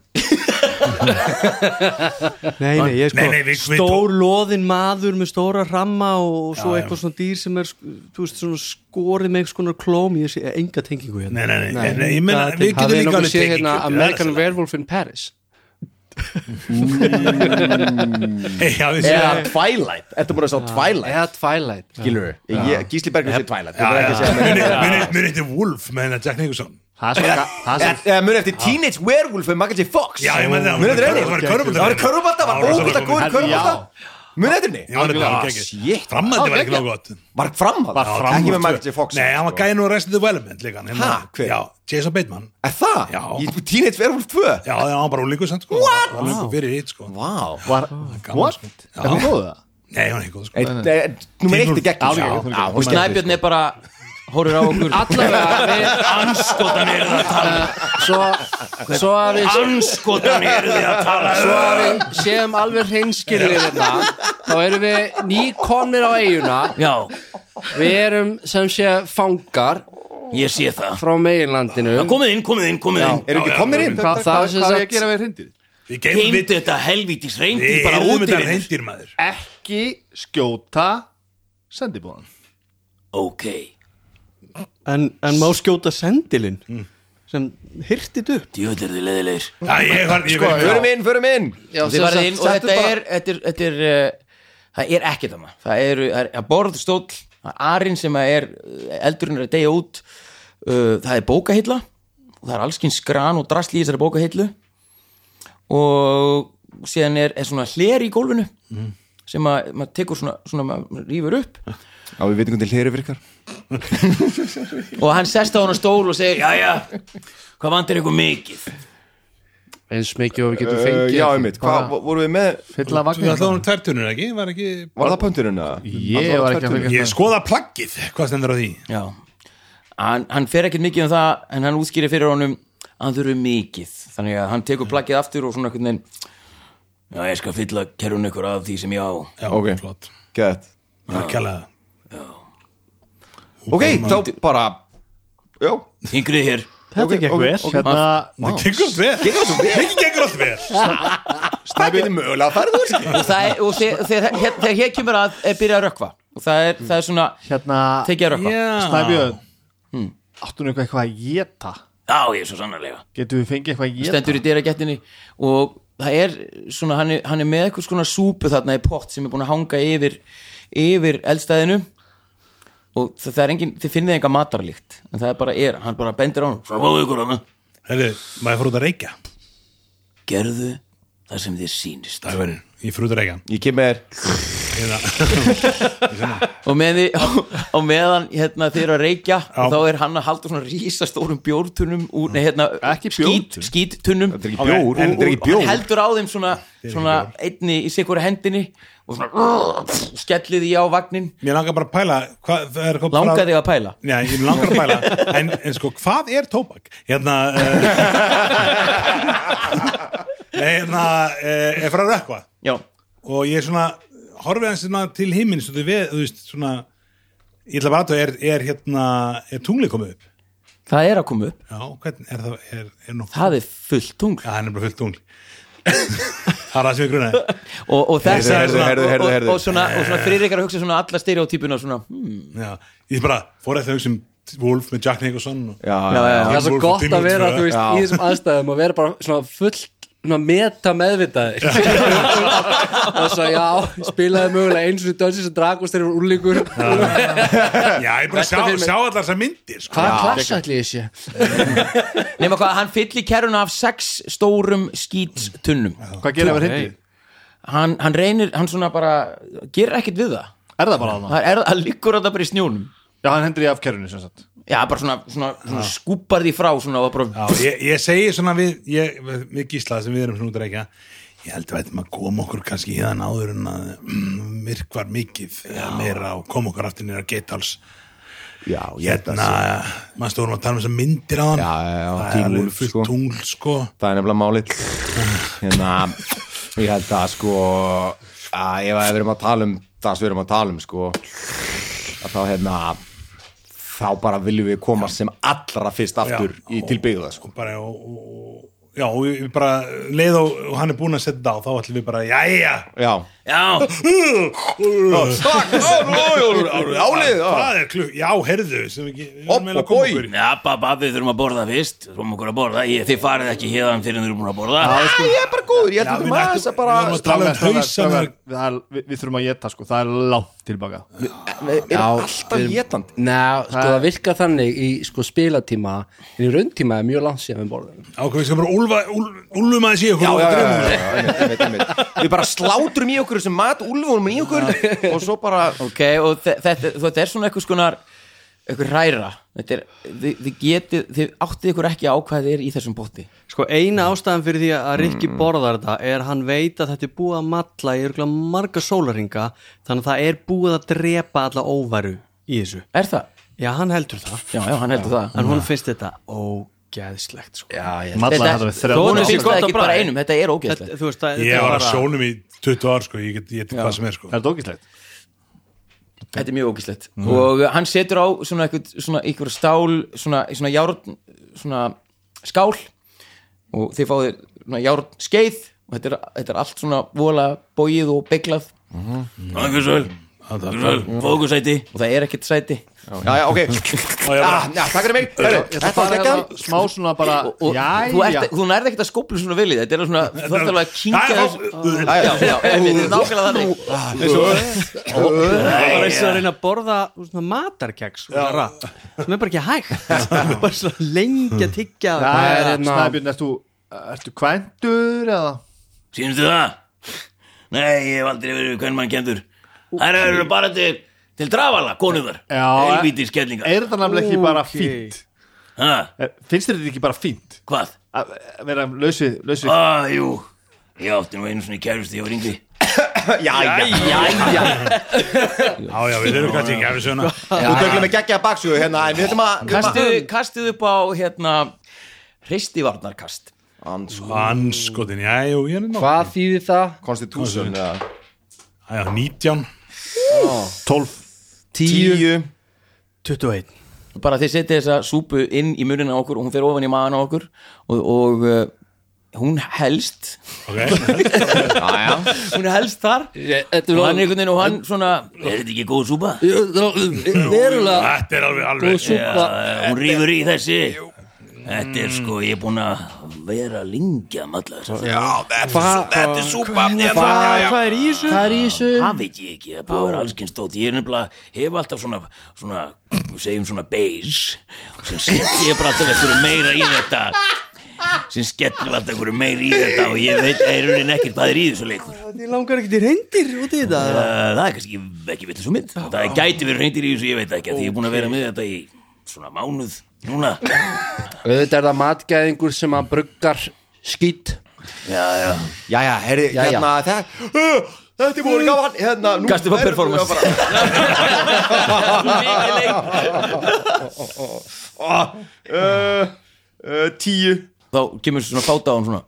E: Nei, nei, ég er sko
D: Nei, nei, við- við-
E: stór loðin maður með stóra ramma og svo eitthvað svona dýr sem er sk- þú veist, svona skorið með einhvers konar klóm ég sé enga tengingu hérna
D: Nei, nei, nei, nei, nei, ég meina,
E: Það-
D: við getum
G: Hafið
D: líka
G: nokkuð
D: alveg
G: séð
D: tekið
G: hérna
D: kjötið,
G: American
D: það er
G: Werewolf in Paris
D: svolítið. Hey, Já, við séum
A: Eða Twilight, þetta búin að sá Twilight
G: eða Twilight
A: Skilur við, Gísli Bergur sé Twilight Ég
D: Já,
A: verð ekki
D: já.
A: að segja
D: Muni- muni- Munið eftir Wolf með hennar Jack Nicholson
G: það er svo- það er svo-
A: Eða munið eftir Teenage Werewolf með Michael J. Fox
D: Já, ég meina það,
A: Munið eftir
D: það
A: henni
D: var körfubolta.
A: Það var körubólta, var
D: Já,
A: ógúta
D: rosalega
A: góður
D: góð.
A: körubólta Munið eftir henni
D: Algjörlega
A: shit.
D: Framhætti var ekki nóg gott
A: Var framhald
D: Já,
A: Ekki
D: framhald
A: með Michael J.
D: tvö.
A: Fox sko.
D: Nei, hann var gæðin og Resident Development líka hann, hérna.
A: Ha, hver?
D: Já, Jason Bateman
A: Er það?
D: Já.
A: Í Teenage Werewolf 2
D: Já, það var bara úlíku samt sko What? Það var líku fyrir hitt sko
A: Vá
F: Var,
D: What?
F: er hann góð það?
D: Nei, hann er ekki góð sko
A: Nummer eitt er gegn
D: Já,
B: sko. og Snæbjörn er bara horfir á okkur
D: <laughs>
C: allavega við Eh,
D: Anskotan eru það að tala
C: svo, svo að við
D: Anskotan eru þið að tala
C: svo að við séum alveg hreinskilnir þetta þá erum við nýkonir á eiguna
B: Já,
C: við erum sem sé fangar
B: ég sé það
C: frá meginlandinu
B: Komið inn, komið inn, komið inn
A: Eru ekki komnir inn?
F: Hvað
C: það
F: hvað-
C: er sem
F: hvað er ég að
C: sagt-
F: gera við hrindir?
D: Við geymum
B: Heimdu
D: við
B: þetta helvítis reyndir
D: Við
B: bara
D: erum
B: út í
D: þetta
B: vinur.
D: reyndir maður
F: Ekki skjóta sendibóðan
B: Ok,
E: en, en má skjóta sendilinn
D: Mm.
E: sem hirtið upp
B: djúðlir þið leðilegir
D: Já, ég var, ég var
A: Förum inn, förum inn
C: Já,
B: Þið
C: sem
B: farið
C: sagt,
B: inn og þetta
C: settu bara-
B: er, þetta er, þetta er uh, það er ekki það maður það eru, það er borð, stóll, það er arinn sem að er, uh, eldurinn er að deyja út uh, það er bókahilla og það er allskinn skran og drasli í þessari bókahillu og síðan er, er svona hler í gólfinu sem að maður tekur svona, svona maður rýfur upp
A: Já, við veitum hvernig hliru virkar
B: og hann sest á hana stól og segir jæja, hvað vandir ykkur mikið
G: eins mikið og við getum
A: Uh,
G: fengið
C: hérna.
A: Já, einmitt, hvað voru við með
F: Fylla
D: Við
F: vagnir
D: ætlaðum tværtunur um ekki, var ekki
A: Var það pönturinn að?
F: Ég var ekki að fylgja
D: Ég skoða plaggið, hvað stendur á því
B: Já, hann, hann fer ekkert mikið um það en hann útskýrir fyrir honum að hann þurfi mikið, þannig að hann tekur plaggið aftur og svona einhvern veginn Já, ég skal fylla kerrun ykkur af því sem ég á
D: Já,
A: Ok.
D: flott
A: Gæt
D: Kjallaða
A: Ok, þá bara Já,
B: Yngrið hér,
E: þetta okay, gekk vel
F: Hérna,
D: Það gengur allt vel Það gengur allt vel
A: það getur mögulega að fara þú veist
B: og það er, og þegar, þegar, þegar, þegar hér kemur að er byrjað að rökkva og það er, það er svona,
F: hérna
B: tekið að rökkva Já,
F: Snæbjörn
B: Hmm.
F: Áttu nú eitthvað að geta
B: ég er svo sannarlega
F: Getum við fengið eitthvað að geta
B: Stendur í dyragettinni og það er svona, hann er, hann er með eitthvað svona súpu þarna í pott sem er búin að hanga yfir yfir eldstæðinu og það, það er engin, þið finnið enga matarlíkt en það er bara er, hann bara bendir á hann svona fáðu ykkur hana
D: Herðu, maður fór út að reykja
B: gerðu það sem þið sýnist
D: Dagverðin, ég fór út að reykja
A: Ég kem með þér
B: og með því, á, á meðan hérna, þið eru að reykja og þá er hann að halda svona rísastórum bjórtunum úr, nei hérna,
F: Ekki
B: skít,
F: bjórtunum.
B: skíttunnum
A: Þetta er ekki
D: Ok,
A: bjór,
D: en-
A: þetta er ekki
B: og hann
A: bjór
B: heldur á þeim svona,
D: ekki
B: svona einni í sikkur hendinni og svona uh, pff, skellir því á vagnin
D: Mér langar bara að pæla hvað, það er hvað-
B: langar þig að pæla
D: Já, ég langar að pæla en, en sko, hvað er tóbak? Hérna uh, Nei, <laughs> hérna uh, er frá rökkva
B: já,
D: og ég er svona horfið hans svona til himinn svo þau veð, þú veist, svona ég ætla bara að það er, er hérna er tunglið komið upp?
B: það er að koma upp
D: Já, hvernig er það er, er nú,
B: það er fullt tungl
D: Já, hann er bara fullt tungli <laughs> Það er það sem ég grunaði
B: og, og þess
A: Heyrðu, heyrðu, heyrðu,
B: og,
A: heyrðu.
B: og, og svona, og svona friðrikar að hugsa svona alla stereotypuna svona, hmm,
D: Já, ég bara fór eftir að hugsa um Wolf með Jack Nicholson og
A: Já, já,
B: já,
D: Teen
C: það er
D: Wolf
C: svo
D: og
C: gott
D: Teen
C: að
D: Wolf
C: vera
D: 2.
C: þú veist, í þessum aðstæðum og vera bara svona fullt svona meta meðvitaðir og svo já, spilaði mögulega eins og dansi sem dragust þegar voru úrlingur
D: Já, ég bara sjá,
C: fyrir mig.
D: sjá allar þessar myndir sko.
C: hvað klassa ætli ég sé
B: nema hvað, hann fyllir kerruna af sex stórum skítstunnum
F: Hvað gera við hrindir?
B: hann, hann reynir, hann svona bara gerir ekkert við það
F: Er það bara hana?
B: það er, hann liggur þetta bara í snjónum
F: Já, hann hendur í af kerfinu sem sagt
B: já, bara svona, svona, svona skúpar því frá svona, og bara,
D: Já, ég, ég segi svona við, ég, við gísla sem við erum svona út að reykja ég held að veitum að koma okkur kannski híðan áður en að mm, myrkvar mikið eða meira og koma okkur aftur nýra getals
A: já, ég-
D: hérna, maður stórum að tala um þessar myndir á hann
A: Já, já, já,
D: það
A: Teen
D: er alveg
A: Wolf,
D: fullt
A: sko.
D: tungl sko
A: Það er nefnilega málið Hérna, ég held að sko að ef að við erum að tala um það sem við erum að tala um sko að þá hérna þá bara viljum við koma sem allra fyrst aftur
D: Já.
A: í tilbyggða sko
D: og bara og, og, já, og við við bara leið og, og hann er búin að setja þetta á þá ætlum við bara, jæja
A: Já,
B: já,
A: stakk, álið
D: hvað er klukk, já, herðu sem við, við
A: Opp
D: erum eiginlega að
A: og
D: koma
A: boj.
D: okkur í.
B: Já, pappa, við þurfum að borða fyrst Þú erum okkur að borða, ég, þið farið ekki hérðan fyrir þið erum búin að borða
A: Æ, ég er bara góður, ég
D: Já,
A: ætlum
D: við
A: að
D: ættum-
A: þess að bara
D: við erum að tala um
F: Strákar,
D: hausanar
F: strákar, það er- Við við þurfum að geta sko, það er látt tilbaka
A: við erum alltaf getandi
C: Ná, sko það virka þannig í sko spilatíma en í rauntíma er mjög langt síðan við borðum
D: Já, ok, við skal bara úlfa, úl, úlfum aðeins í okkur
A: Já,
D: og
A: já, já,
D: drifum
A: já, já, einmitt, einmitt, einmitt. Við bara slátrum í okkur þessum mat, úlfunum í okkur og svo bara
B: Ok, og þe- þetta, þetta er svona eitthvað skonar eitthvað hræra Þetta er, þið, þið getið, þið áttið ykkur ekki á hvað þið er í þessum botti
E: Sko eina ástæðan fyrir því að Rikki borðar þetta er að hann veit að þetta er búið að matla í örgulega marga sólaringa þannig að það er búið að drepa alla óværu í þessu
B: Er það?
E: Já, hann heldur það
B: já, já, hann heldur það
E: En hún finnst þetta ógeðslegt sko.
B: já, ég
F: Malla þetta við þrjá
B: Þó
E: Þó
B: finnst
E: gott
B: það
E: að
B: ekki
E: bragða.
B: bara einum, þetta er
E: þetta,
B: ógeðslegt
E: Þú veist það
D: Ég
E: þetta
D: var
E: bara-
D: að sjónum í 20 ár sko, ég get, ég get hvað sem er sko
F: Er þetta ógíslegt?
B: Þetta er mjög ógíslegt og uh, hann setur á svona eitthvað, svona eitthvað stál svona, svona járn svona skál og þið fáið svona járn skeið og þetta er, þetta er allt svona vola bóið og bygglað Fókusæti og það er ekkert sæti
A: Já, já, ok ah, Já, takk fyrir mig Herru, Þetta var ekki
F: Bara hérna Smá svona bara
B: og, og þú, ert, þú nærði ekkert að skóplu svona vilið þetta er svona, þú þarf alveg að kinga
D: Æ,
B: þess
D: þá-
B: já, já, einmitt, nákvæmlega þannig
E: Það var eins og að reyna að borða svona matarkeks svona rætt, sem er bara ekki hægt <laughs> bara svona lengi að tyggja
F: Það er
E: hérna-
F: Snæbjörn, ertu Ertu kvæntur eða?
B: Sýnstu það? Nei, ég hef aldrei verið hvern mann kendur Það eru bara til, til dravala, konuðar
F: Já. eh,
B: Helvíti skellingar
F: Er þetta nefnilega ekki bara
E: Ok.
F: fínt?
B: ha,
F: Er- Eh, Finnst þér þetta ekki bara fínt?
B: Hvað?
F: Að að vera lausið lausið
B: Ah, jú, ég átti nú einu svona kærust þegar ég var yngri
D: Já, já, við erum kannski ekki að við sjöna
A: Þú döglum með geggja baksjöðu hérna En við ætlum að
B: Kastuð, kastuð upp á, hérna, hristivarnarkast
A: Hans
D: Anskotin, sko, já, jú, ég er nokkuð
C: Hvað þýðir það?
A: Constitution eða
D: Já, 19
A: Tíu
E: 21
B: Bara þið setja þessa súpu inn í munina á okkur og hún fer ofan í maðan á okkur og, og uh, hún helst
D: Ok,
B: hún helst þar og
C: Þetta er
B: hann einhvern veginn og hann svona er þetta ekki góð súpa?
C: alveg verulega
D: þetta er alveg
C: góð
D: alveg
C: súpa
B: eh, hún rýfur í þessi Þetta er sko, ég er búin að vera lingja með alla þess að
C: Hvað
A: hérna.
E: Hvað er í þessu?
C: hvað er í þessu?
B: það veit ég ekki, það er búin að vera allskynnstótt Ég er nefnilega, hef alltaf svona, svona við segjum svona beis sem skellur ég bara alltaf eitthvað meira í þetta sem skellur alltaf eitthvað meira í þetta og ég veit eirurinn ekkert hvað er í þessu leikur
E: Ég langar ekkert í reyndir út í þetta
B: Uh, það er kannski ekki vitlega svo mynd Það gæti verið reyndir í þessu, ég veit það ekki okay. Því ég er búin að vera með þetta í svona mánuð Núna
G: Auðvitað er það matgæðingur sem að bruggar skýt
B: já, já.
A: Jæja, herri,
G: Jæja.
A: hérna það, uh, Þetta er búin gaman hérna, nú-
B: Gastu upp á performance.
A: Já, bara- Ah, uh, uh, Tíu
B: Þá kemur svona fáta á hann svona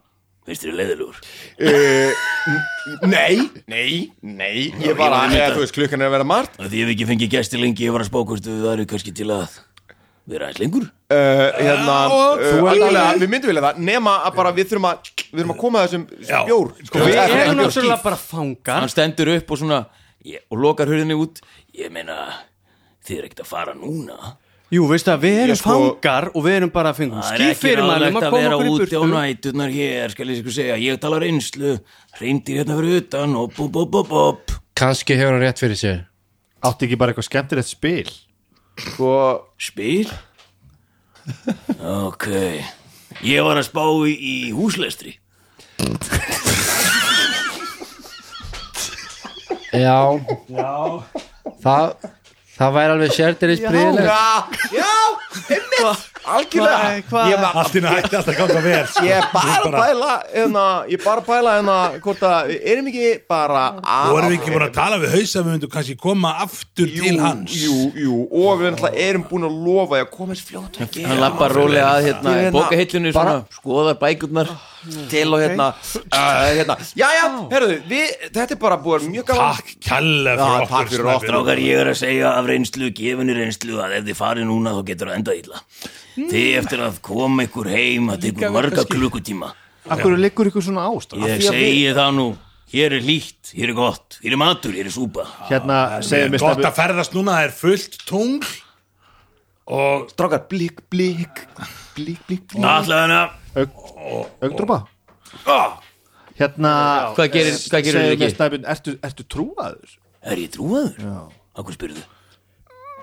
B: Veist þér leiðilegur
A: Uh, Nei, nei, nei Ég bara,
B: ég
A: eða,
B: veit það.
A: þú veist, klukkan er að vera margt
B: Af Því ef ekki fengið gæsti lengi Ég var að spá hvort við varum kannski til að Vera aðeins lengur
A: uh, Hérna, uh, allavega, við myndum vilja það Nema að bara við þurfum að Við þurfum að koma að þessum þessum bjór sko,
E: Við
A: eða,
E: erum
A: bjór.
E: náttúrulega bara fangar
B: Hann stendur upp og svona ég, Og lokar hurðinni út Ég meina Þið er ekkert að fara núna
E: Jú, veistu að við erum
A: Ég sko-
E: fangar og við erum bara að fengum
B: Það er
E: skýr
B: ekki
E: fyrir maður um
B: ráðlegt
E: að
B: að
E: koma
B: vera
E: okkur í
B: úti á
E: burtu
B: nætunar hér Skal ég ykkur segja Ég tala reynslu Reyndir hérna fyrir utan Og bú bú bú bú
G: Kanski hefur hann rétt fyrir sér
F: Átti ekki bara eitthvað skemmtilegt spil
A: sko,
B: Spil? Ok Ég var að spá í, í húslestri
G: Já, já. Það, það væri alveg sérdilis príðileg
A: Já, já, einmitt Algjörlega
E: Hvað- hvað-
A: Ég bara,
D: Allt í nætti alltaf ganga vel sko.
A: ég er bara að
D: Bara-
A: pæla hérna, Ég er bara að pæla hérna Hvort að, við erum ekki bara að
D: Þú erum við ekki búin að tala við hausa Við myndum kannski koma aftur til hans
A: Jú, jú, og við náttúrulega erum búin að lofa því að koma eins fljótt og ekki
B: Hann lappar rólega að hérna
A: Ég meina,
B: bókahillunni svona skoðar bækurnar
A: til og hérna, uh, hérna. Já, já, herruðu, við, þetta er bara búið mjög gaman
D: Takk kærlega
A: Já,
D: fyrir okkur
A: takk fyrir okkur,
D: Snæbjörn.
B: Strákar ég er að segja af reynslu, gefinni reynslu að ef þið farið núna þá getur það enda illa
E: Hmm.
B: Þið eftir að koma ykkur heim að tekur marga klukkutíma
F: Akkur liggur ykkur svona ást
B: Ég segi það nú, hér er hlýtt, hér er gott, hér er matur, hér er súpa
F: Hérna segir mér
D: Gott
F: Snæbjörn
D: að ferðast núna, það er fullt tungl Og
A: Strákar, blík, blík Blík, blík, blík
B: Allaðana
F: Ögndrópa
E: Hmm.
B: Ah!
F: Hérna
B: Hvað gerir- hvað gerir
F: segir
B: þú
F: mér
B: ekki?
F: Snæbjörn, ertu, ertu trúaður?
B: Er ég trúaður? Já Akkur spyrðu?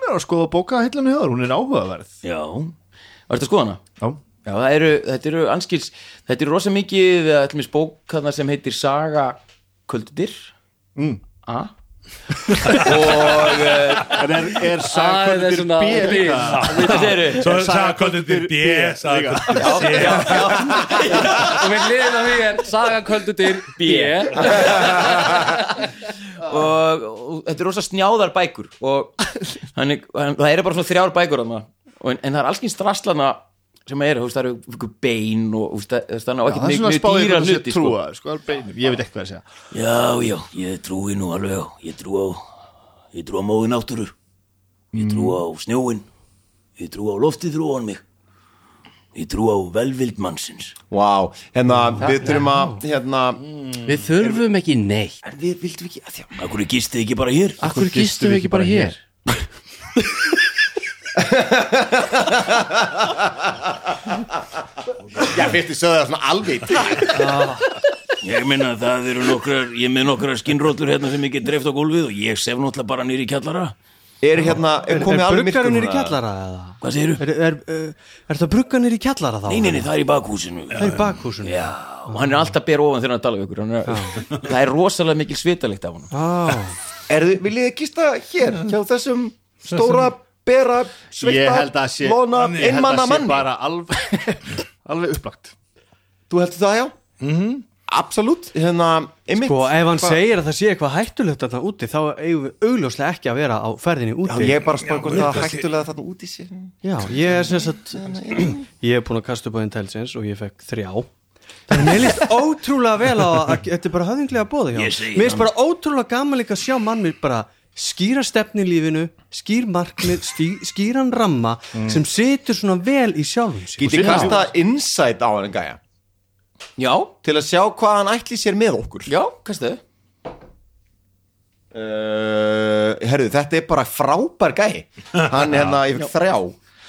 F: Mér er að skoða bóka hillinu hjá þér, hún er áhugaverð
B: Já Var þetta skoðana?
F: Já
B: Já, það eru, þetta eru anskils Þetta eru rosa mikið, það er bók þarna sem heitir Saga Kvöldudyr mm.
F: En er, er
C: Æ, það er
F: sagkvöldur
C: svona-
F: B líka?
B: Þetta eru
D: svo sagði kvöldin til B Sagði kvöldin til C
C: Og við hliðin á því er Saga kvöldutir B
B: og
G: og, og þetta er rosa snjáðar bækur og hann, er- hann, það eru bara svona þrjár bækur þarna, og, en, en það er alls kynst rastlana sem er, þú veist, það eru einhver bein og þú veist, það- þú veist, þannig á
F: það er
G: ekki
F: svona
G: mjög
F: spáðið
G: dýra
F: að sé
G: hluti sko.
F: trúa sko, það er beinum, ég veit eitthvað að segja
G: Já, já, ég trúi nú alveg á Ég trúi á Ég trúi á móðin náttúru Ég trúi á snjóin Ég trúi á loftið þrúan mig Ég trúi á velvild mannsins
A: Vá, hérna, við þurfum að hérna,
C: Við þurfum ekki neitt
G: En við vildum ekki að þjá Akkur gistið ekki bara hér
C: Akkur gistum við ekki bara hér
A: Já, fyrst ég sögðu það svona alveg
G: Ég minna það eru nokkrar Ég er með nokkrar skinnróllur hérna sem ég get dreift á gólfið Og ég sef náttúrulega bara nýri kjallara
A: Er hérna, er komið
E: Er
A: alveg myrkur
E: bruggarinn er í
A: núna?
E: kjallara eða?
G: Hvað segiru?
E: Er, er, er, er það bruggarinn í kjallara þá?
G: Nei, nei, nei, það er í bakhúsinu
E: Það er í bakhúsinu
G: Já, og hann er alltaf ber ofan þegar hann talar við ykkur Hann er, <laughs> Það er rosalega mikil svitalikt af honum
E: ah.
A: Er þið, viljið þið gista hér hjá þessum stóra, bera,
F: ég
A: sveikta,
F: held að sé,
A: lona,
F: ég held að
A: einmanna
F: sé
A: manni
F: bara alveg, <laughs> alveg upplagt
A: Þú heldur það, já? Mm
F: Mhm.
A: -hmm. Absolutt, hérna, einmitt
E: Sko, ef hann segir að það sé eitthvað hættulegt þarna úti þá eigum við augljóslega ekki að vera á ferðinni
A: Já,
E: úti
A: ég er bara að spá hvort það hættulega þarna út í sér
E: Já, ég er sem sagt <clears throat> ég er búin að kasta upp á intelligence og ég fekk þrjá Þannig mér líst ótrúlega vel á að þetta er bara höfðinglega bóða hjá
G: Ég
E: honum.
G: segi
E: Mér líst
G: það.
E: bara ótrúlega gaman líka að sjá mann mér bara skýra stefni í lífinu skýr markmið, stí, skýran ramma sem situr svona vel í sjálfum sér
A: Getið kasta insight á hann gæja
G: Já,
A: til að sjá hvað hann ætli sér með okkur
G: já, hvað stuðu?
A: Uh, herru, þetta er bara frábær gæi Hann hérna, ég fikk þrjá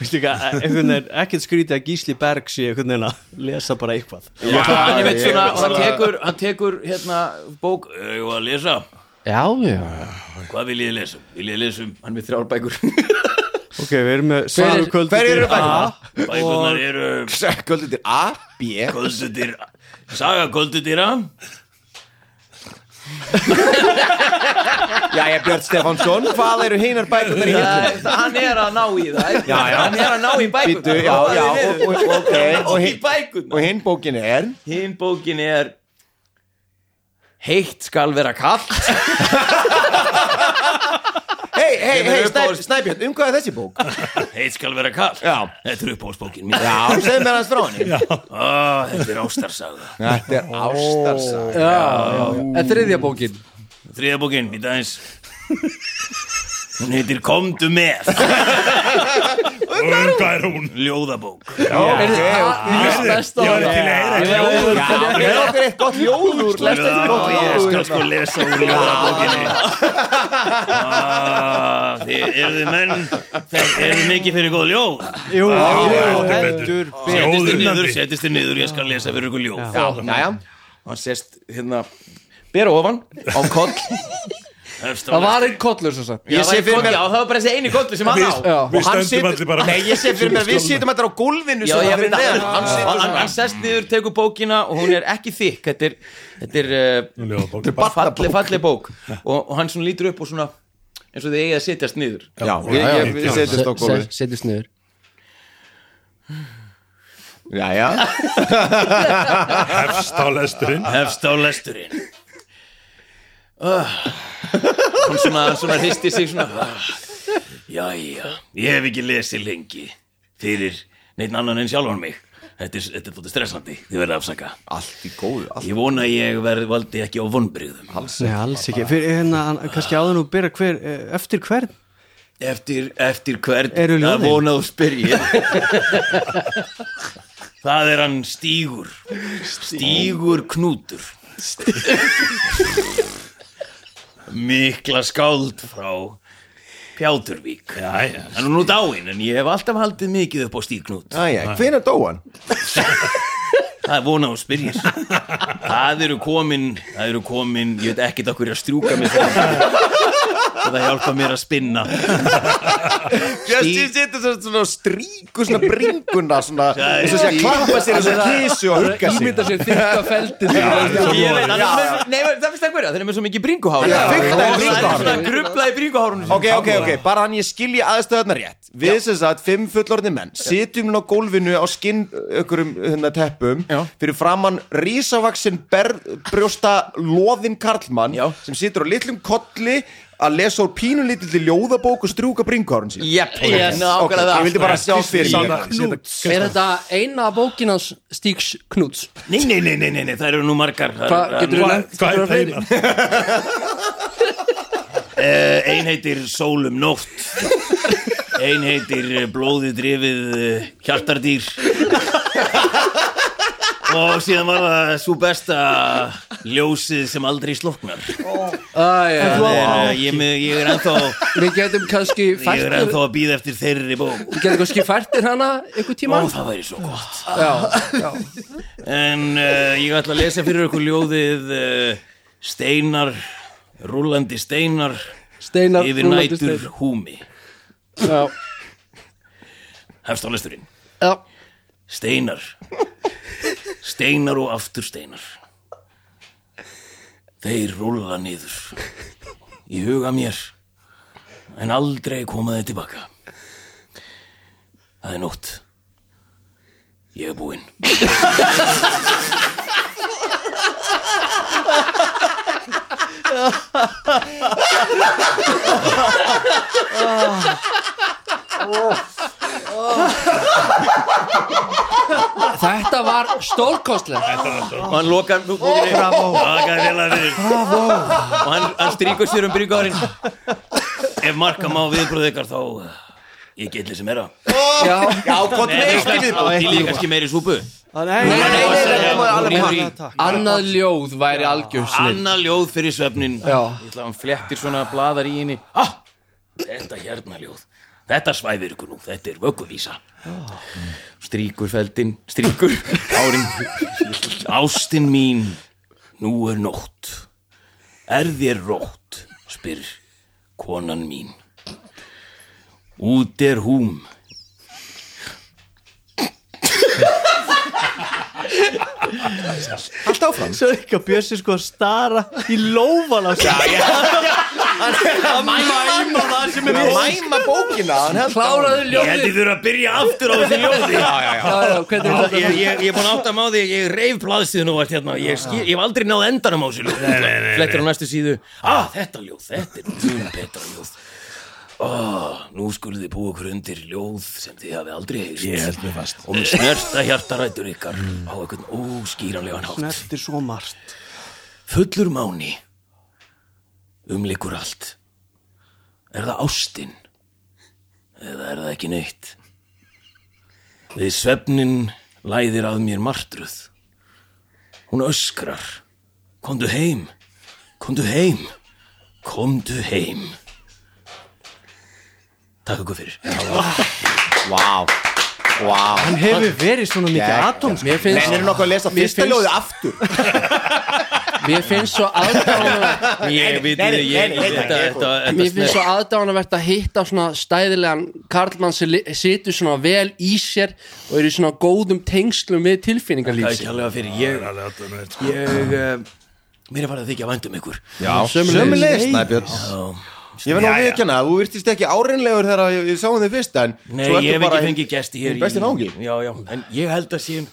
E: Vistu ekki að eh, einhvern veginn ekkert skrítið að Gísli Berg sé einhvern veginn að lesa bara eitthvað
G: Já, hann, veit, svona, hann tekur, hann tekur hérna bók Ég var að lesa,
C: Já, já
G: hvað vil ég lesa? Vil ég lesa um, hann er með þrjár bækur
E: Ok, við erum með Svaru kvöldu
A: Hver eru bækurnar?
G: Bækurnar eru
A: Kvöldu til A, B
G: Koldudyr Saga Koldudyra
A: Jæja, Björn Stefánsson, hvað eru hinar bækurnar í hillinu?
G: Hann er að ná í það
A: Já, já.
G: Hann er að ná í
A: Býtu,
G: bækurnar
A: já,
G: Hann
A: já,
G: er
A: og,
G: niður.
A: og, ok Og,
G: Og í
A: hin- og
G: bækurnar
A: hinn bókin er
G: Hinn bókin er Heitt skal vera kallt
A: Hei, hei,
G: Kemur
A: hei,
G: upp á-
A: Snæ- Snæbjörn, um hvað er þessi bók?
G: Heitt skal vera kallt
A: Já.
G: Þetta er uppáhaldsbókin mín
A: Já, segðu mér hans frá henni
G: Ó, Þetta er ástarsaga
A: Þetta er ástarsaga
B: En þriðja bókin
G: Þriða bókin, býta aðeins Hún heitir Komdu með
D: Um, hvað er hún?
G: Ljóðabók
D: Ég var til að heyra ekki ljóður.
A: Já, með okkur eitt gott ljóð úr
G: Já, ég
A: hérna.
G: skal sko lesa úr ljóðabókinni Ah, Þið eruð þið menn Þið eruð þið mikið fyrir góð ljóð
E: Jú,
D: heldur
G: Settist þið niður,
D: Ljóðunandi.
G: settist þið niður Ég skal lesa fyrir ykkur ljóð
A: Jæja,
G: Hann sest hérna Bera ofan á <laughs> koll Hefst á
B: Það var einn kollur svo sagt
G: Ég sé fyrir mér Já, það var bara þessi eini kollu sem hann á
B: Já.
D: Við
A: hann
D: stöndum allir bara
A: Nei, ég sé fyrir mér, við sitjum þetta á gólfinu
G: Já,
A: svona
G: ég
A: fyrir
G: veit að
A: neðan.
G: hann, hann, hann, hann sest niður, tekur bókina og hún er ekki þykk, þetta er, þetta er uh,
D: Ljóðabók.
G: falli, falli bók og, og hann svona lítur upp og svona eins og þið eigið að setjast niður
A: Já, ég, ég, ég setjast á gólfið
C: Settist niður
A: Jæja,
D: Hefst á lesturinn
G: hefst á lesturinn uh. hann svona, hann svona hristi sig svona uh. jæja, ég hef ekki lesið lengi fyrir neitt annan en sjálfan mig þetta er, þetta er þóttu stressandi, þið verða afsaka
A: allt í góðu allt.
G: ég vona að ég verð valdi ekki á vonbrigðum
E: Nei, alls ekki, fyrir hérna, hann- kannski áður nú byrja hver, eh, eftir hvern
G: eftir, eftir hvern
E: Eru ljóðin?
G: að vona og spyrja það er hann stígur stígur knútur mikla skáld frá Pjáturvík hann er nú dáinn en ég hef alltaf haldið mikið upp á stígnút
A: Jæja, hvenær dó hann?
G: það er vona og spyrjir það eru komin það eru komin, ég veit ekkert okkur að strjúka mig það það hjálpa mér að spinna
A: Justin situr svona, svona stríku svona bringuna svona, eins og sé að klappa sér eins og kísu og hugga sig
C: Ímynda sér þykka feldið
G: Ég veit, hann er með- Nei, það finnst það hverja, þeir eru með svo mikið bringuhár
A: Já, fikta í
G: Það er
A: bringuhárinu.
G: svona grubla í bringuhárunum
A: Ok, ok, ok, bara hann ég skilji aðstöðnar rétt Við sem sagt, fimm fullorðni menn Sitjum nú á gólfinu á skinn Ökkurum hérna teppum
G: Já.
A: Fyrir framann rísavaksin ber, Brjósta loðin karlmann
G: Já.
A: Sem situr á litlum kolli Að lesa úr pínulítilli ljóðabók Og strjúka bringhárun sín
G: Jep, nákvæmlega
A: ég vildi bara
G: það
A: sjá fyrir
D: Sanna-
A: mér.
D: setja-
C: Er þetta eina bókin hans Stíks Knúts?
G: Nei, nei, nei, nei, nei, nei, það eru nú margar Það
C: Hvað
G: eru-
C: getur þú
G: nú-
D: Hvað-
C: nefnt?
D: Hvað er það einar?
G: Eh, Ein heitir Sólum nótt Ein heitir eh, Blóði drifið eh, hjartardýr Og síðan var það svo besta ljósið sem aldrei sloknar
C: Æja,
G: Þannig að ég, er með- ég er ennþá
C: við getum kannski
G: Ég er
C: færtir
G: ennþá að býða eftir þeirri bók
C: Við getum kannski færtir hana einhver tíma
G: Ó, það væri svo gott
C: Já,
G: En uh, ég ætla að lesa fyrir ykkur ljóðið uh, Steinar, rúlandi steinar
C: steinar
G: Yfir
C: rúllandi
G: nætur
C: steinar.
G: húmi Hefst á lesturinn
C: Já,
G: Steinar Steinar og aftur steinar Þeir rúla niður Í huga mér En aldrei koma þeir tilbaka Það er nótt Ég er búinn
C: Þetta var stórkostlega
G: og hann lokar nú bókinni Bakaði vel að fyrir og hann, hann strýkur sér um bryggjárin ef marka má viðbröð ykkar þá eh, ég get þessi meira
C: Já,
A: Já, hvað er ekki við
G: og til ég kannski meiri súpu
E: Nei, nei,
C: nei, nei, nei,
G: Hún rífur í
C: annað ljóð væri algjörslið
G: annað ljóð fyrir svefnin
C: Já.
G: ég ætla að hann flettir svona bladar í henni ah, þetta hérna ljóð þetta svæfir ykkur nú, þetta er vögguvísa strýkur feldin strýkur árin ástin mín nú er nótt er þér rótt spyr konan mín út er húm
E: Svo eitthvað Bjössi sko að stara í lófan á sig
A: Mæma það sem er Mæma bókina hann heldur á-
C: Kláraðu
G: ég held
C: ljóðið
G: ég þurfa að byrja aftur á þessu ljóði já, já, já.
C: Já, já, hvernig er
G: ég,
C: þetta?
G: ég, ég er búin að átta mig á því ég reif blaðsíðun og vart hérna ég, skil, ég hef aldrei náð endanum á þessu ljóð flettir á næstu síðu ah, þetta ljóð, þetta er tún betra ljóð Oh, nú skulum þið búa okkur undir ljóð sem þið hafi aldrei heyrst
D: mér fast
G: og með snerta hjartarætur ykkar á einhvern óskýranlegan hátt
E: Snertir svo margt
G: Fullur máni Umlikur allt Er það ástin Eða er það ekki neitt Við svefnin Læðir að mér martruð Hún öskrar Komdu heim Komdu heim Komdu heim Takk ykkur fyrir
A: Vá, vá
E: Hann hefur verið svona mikið
A: Geggjað.
E: atom
C: Mér
A: En
C: finnst,
A: eru nokkuð að lesa fyrsta
C: finnst-
A: ljóðið aftur?
C: mér finnst svo aðdána
G: Ég veit
A: nei, nei, nei, nei, nei.
C: Mér finnst svo aðdánavert að hitta svona stæðilegan karlmann sem li- situr svona vel í sér og er í svona góðum tengslum við
G: Það er
C: tilfinningarlýsi
G: kjærlega fyrir ég Ég uh, Mér er bara að þykja vænt um ykkur
A: Já, sömulegis Snæbjörn Ég verð nú að viðkjanna, þú virtist ekki árinlegur þegar ég, ég sá þig fyrst en
G: Nei,
A: svo ertu
G: ég hef
A: bara-
G: ekki fengið gesti hér
A: Hún besti
G: í- <laughs>
A: náungi.
G: Já, já, en ég held að sé um-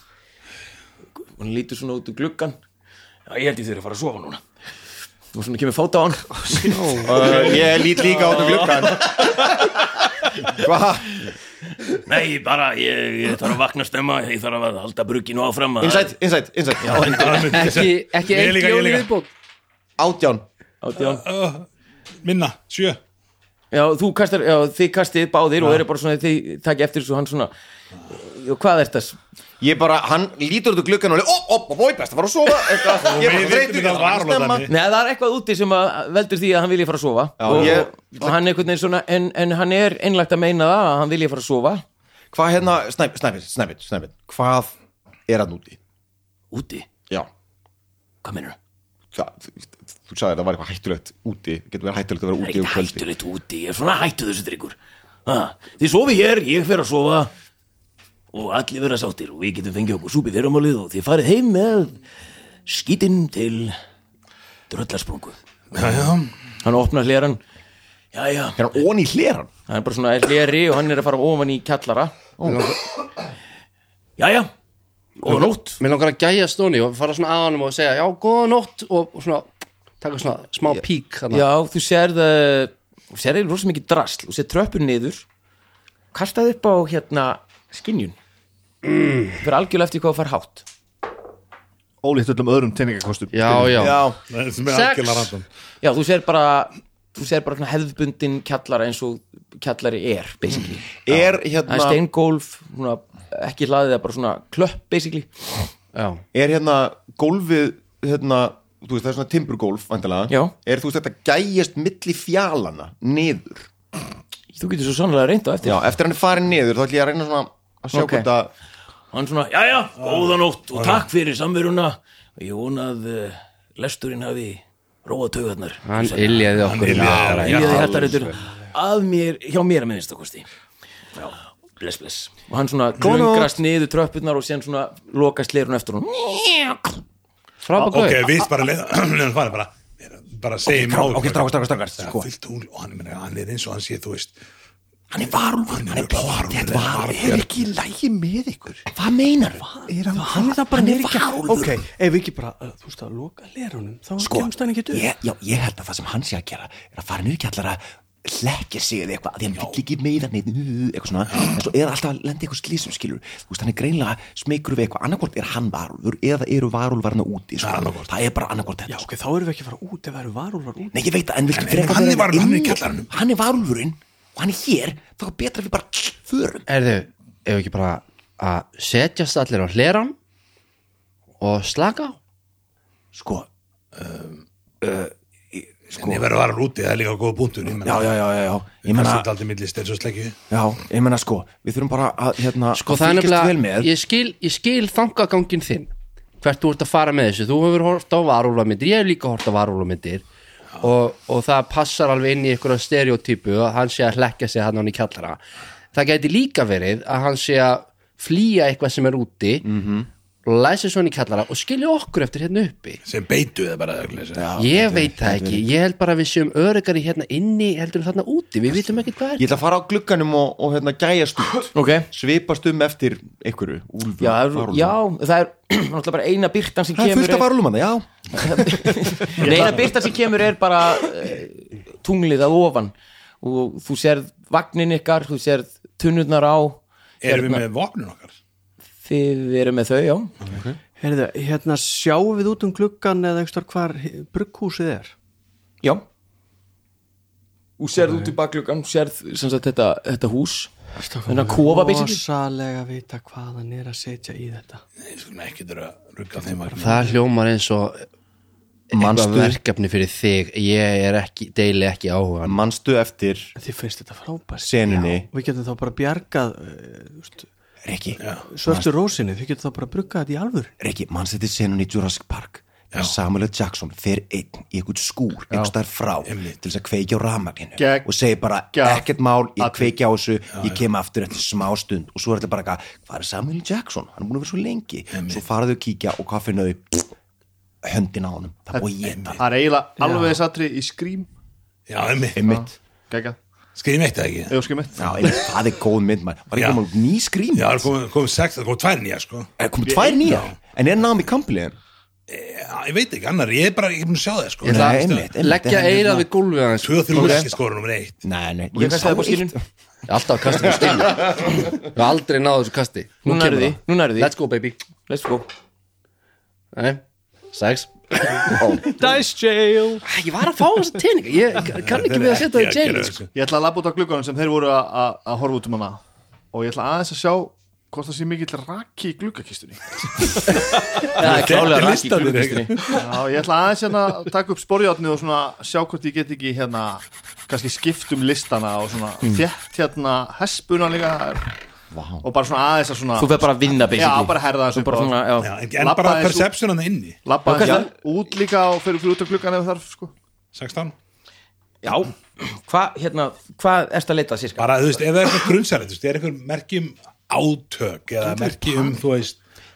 G: Hún lítur svona út úr gluggan Já, ég held ég þeirra að fara að sofa núna Og svona kemur fóta á hann
A: Uh, Ég lít líka á þetta glukkan <laughs> Hva?
G: <laughs> Nei, bara, ég, ég þarf að vakna stemma Ég þarf að halda bruginu áfram að-
A: Insight, insight, insight
C: Ekki, ekki
D: Ég
C: eitt
D: líka, ég
C: ljóð í
D: líka.
C: viðbót
A: Átján
G: Átján.
D: Minna, sjö
G: Já, þú kastar, já, þið kastið báðir og eru bara svona, þið takja eftir þessu hann svona Og hvað er þetta?
A: Ég bara, hann lítur út úr glukkan og leið Ó, ó, ó, ó, best að fara að sofa eitthvað. Ég
D: Við
A: bara
D: veitum
A: þreytur ég
D: ekki að var
A: þarf að snemma.
D: þannig
G: Nei, það er eitthvað úti sem að veldur því að hann vilja fara að sofa
A: Já,
G: og,
A: ég-
G: og hann einhvern veginn svona en, en hann er einlægt að meina það að hann vilja fara að sofa
A: Hvað hérna, snæpit, snæpit, snæpit, snæpit Hvað er hann úti?
G: Úti?
A: Já
G: Hvað meinarðu?
H: það, þú sagði að það var eitthvað hættulegt úti getur verið hættulegt að vera
G: Það er
H: úti um
G: ekki
H: kvöldi
G: hættulegt úti, ég er svona hættu þessu drikkur ha, Þið sofi hér, ég fer að sofa og allir vera sáttir og við getum fengið okkur súpið fyrramálið og þið farið heim með skítinn til dröllarsprungu
D: já, já,
G: Hann opnar hleran Jæja,
H: er hann ón í hleran?
G: hann er bara svona hleri og hann er að fara ofan í kjallara Jæja, góða nótt
C: Mér langar að gæja stóni og fara svona að honum og segja Já, góða nótt og svona taka svona smá pík þarna.
G: Já, þú sérð uh, þú sérð eða rosa mikið drasl þú sérð tröppur niður kastaði upp á hérna skinjun mm. fyrir algjörlega eftir hvað það fær hátt
F: Ólíkt öllum öðrum teiningakostum
C: já, já,
D: það sem er
C: Sex.
D: algjörlega random
G: Já, þú sérð bara þú sérð bara svona hefðbundin kjallara eins og kjallari er, basically
A: er
G: það er
A: hérna,
G: steingólf, svona, ekki hlaðið það er bara svona klöpp, basically
C: já.
A: er hérna gólfið hérna, þú veist það er svona timburgólf vandalega,
G: Já.
A: er þú veist þetta gæjast milli fjalana niður
G: Þú getur svo sannlega reynda eftir
A: já, eftir hann er farin niður þá ætlum ég að reyna svona að sjá
G: Ok.
A: hvort að
G: Hann svona, jæja, góða nótt og takk fyrir samveruna og ég vona að uh, lesturinn hafi róa taugarnar
C: hann iljaði okkur í
D: Já, já,
G: Yljaði hættaréttur að mér, hjá mér að minnsta kosti Já, bless bless og hann svona klungrast niður tröppurnar og síðan svona lokast leirun eftir hún
C: frábæk
D: ok, <clears throat> við bara leiðum leiðum farið bara bara segjum
H: ok, strákar, strákar, strákar, sko.
D: strákar og hann, ég meina, hann er eins og hann sé, þú veist
G: hann er varulfur,
D: hann
G: hann
D: er
G: er blóð
D: varúlfur,
G: hann
D: varúlfur.
G: er
H: ekki í lægi með ykkur
G: hvað meinar
H: er hann,
E: Hann er það bara
G: er
E: ekki
G: varúlfur.
E: Ok, ef við ekki bara, uh, þú veist að loka lerunum Þá kemst hann ekki upp
H: ég, já, ég held að það sem hann sé að gera er að fara niður kjallara hlekkja sig eða eitthvað, af því hann vill ekki meira neitt uh, eitthvað svona, en svo er alltaf að lenda eitthvað slísum skilur, þú veist, hann er greinlega smeykur við eitthvað, annarkvort er hann varulfur eða það eru varulvarna úti, sko. það er bara annarkvort þetta, sko.
E: Já, ok, þá erum við ekki að fara út ef það eru varúlfar út
H: Nei, ég veit það, en viltu
D: En- en hann er varulfur, hann er í kjallaranum.
H: Hann er varulfurinn og hann er hér, þá er betra að við bara förum.
C: erðu, ef ekki bara að setjast allir á hleran og slaka á
H: Sko,
D: en ég verður að vara úti, það er líka góð punktur ég
H: já,
D: meina,
H: já, já, já, já, ég
D: það
H: menna,
D: er aldrei millist eins og slekju
H: já, ég menna sko, við þurfum bara að, hérna,
C: sko
H: að
C: það er
H: fylgjast vel
C: nefnilega,
H: með.
C: ég skil, ég skil þangagangin þinn, hvert þú ert að fara með þessu þú hefur hort á varúlamyndir, ég hef líka hort á varúlamyndir og, og það passar alveg inn í einhverja stereotypu að hann sé að hlekja sig hann hann í kjallara það gæti líka verið að hann sé að flýja eitthvað sem er úti
H: Mhm.
C: og læsa svo hann í kjallara og skilja okkur eftir hérna uppi
D: sem beitu það bara örugglega, sem-
C: ég veit það ekki, ég held bara að við séum örygari hérna inni heldur en þarna úti við vitum ekki hvað
A: ég ætla að fara á glugganum og, og hérna gæjast <laughs> út
G: ok,
A: svipast um eftir einhverju úlfur,
G: já, það er,
A: varúlfur.
G: já það er <clears throat> náttúrulega bara eina byrtan sem
A: það er
G: kemur
A: fullt af varulmanna, já
G: Nei, eina byrta sem kemur er bara uh, tunglið að ofan og þú sérð vagnin ykkar þú sérð tunnurnar á
D: erum við með vopnun okkar
G: þið eru með þau, já
E: Heyrðu, hérna sjáum við út um klukkan eða einhverstvar hvar hi- brugghúsið er
G: já og sérð út í bakljókan sérð sem sagt þetta, þetta hús þennan kofa basically
E: Rosalega vita hvað hann er að setja í þetta
D: Nei, við skulum ekki þurfa að rugga þeim vagnum.
C: Það hljómar eins og eitthvað verkefni fyrir þig ég er ekki, deili ekki áhuga
A: manstu eftir
E: Þið finnst þetta frábært
A: senunni
E: Og Við getum þá bara bjargað uh, úst,
A: Rikki,
E: Svörstu rósinni, þið getum þá bara bruggað þetta í alvör
A: Rikki, mannstu eftir senunni í Jurassic Park þegar Samuel L. Jackson fer einn í einhvern skúr einhvers þar frá til þess að kveikja á ramakinu
F: Gegn-
A: og segir bara,
F: gegn-
A: ekkert mál, ég kveikja á þessu ég kem aftur eftir smá stund og svo er þetta bara eitthvað, hvað er Samuel L. Jackson? hann er búin að vera svo lengi, svo fara þau að kíkja og hvað finna þau? höndin á honum, það er búið að geta
F: Það er eiginlega alveg þess aðri í skrím
D: já, einmitt,
A: einmitt,
F: Gægja,
D: skrifum eitt eða ekki
F: eða skrím mitt
A: já, <laughs> einmitt, það er góð mynd maður. var
D: Já.
A: ekki komið út ný skrým
D: já, það kom, kom sex, það kom tvær nýja sko.
A: er komið tvær nýja, en er námi kampliðin
D: já, ég veit ekki, annar, ég er bara ekki búin að sjá það sko.
C: Ég ætla
A: Nei,
C: að
A: einmitt, einmitt,
C: leggja
A: en
C: eirað
A: hérna-
C: við gólfið hans
D: tvö og þrjú er ekki skora nummer eitt
A: nei, nei,
G: ég
A: ég
G: kastaði
A: sá
G: upp á skilin.
A: eitt
C: alltaf að kasta upp á
A: <laughs>
C: stílu við aldrei náðu þessu kasti
G: Nú nærðu
C: kemur
G: því,
C: það.
G: nú nærðu því.
C: let's go baby
G: let's go
C: Nei, sex dice jail ég var að fá þessu teininga ég kann ekki við að setja það í jail sko.
F: Ég ætla að labba út á glugganum sem þeir voru að- að að horfa út um hana og ég ætla aðeins að sjá hvort það sé mikill raki í gluggakistunni
G: það er klálega ræk í
D: listanum,
G: klukkustinni
F: Já, ég ætla aðeins hérna að taka upp sporjátnið og svona sjá hvort ég get ekki
B: Hmm.
F: hérna kannski skipt um listana og svona þétt hérna hespuna líka það er
I: Vá.
F: og bara svona aðeins að svona
B: Þú fer bara að vinna,
F: já,
B: basically.
F: bara herða þessu
B: Þú bara svona, já.
D: Já, en en bara
F: Labbaði svo-
D: perception hann inni
F: Lappa
B: Já,
F: þessu út líka og fyrir, fyrir út af klukkan ef þarf sko
D: 16
B: Já, hvað, hérna, hvað ertu að leita sirka?
D: bara, þú veist, ef það er eitthvað grunnsæri þú veist, er eitthvað merki um átök eða merki um, þú veist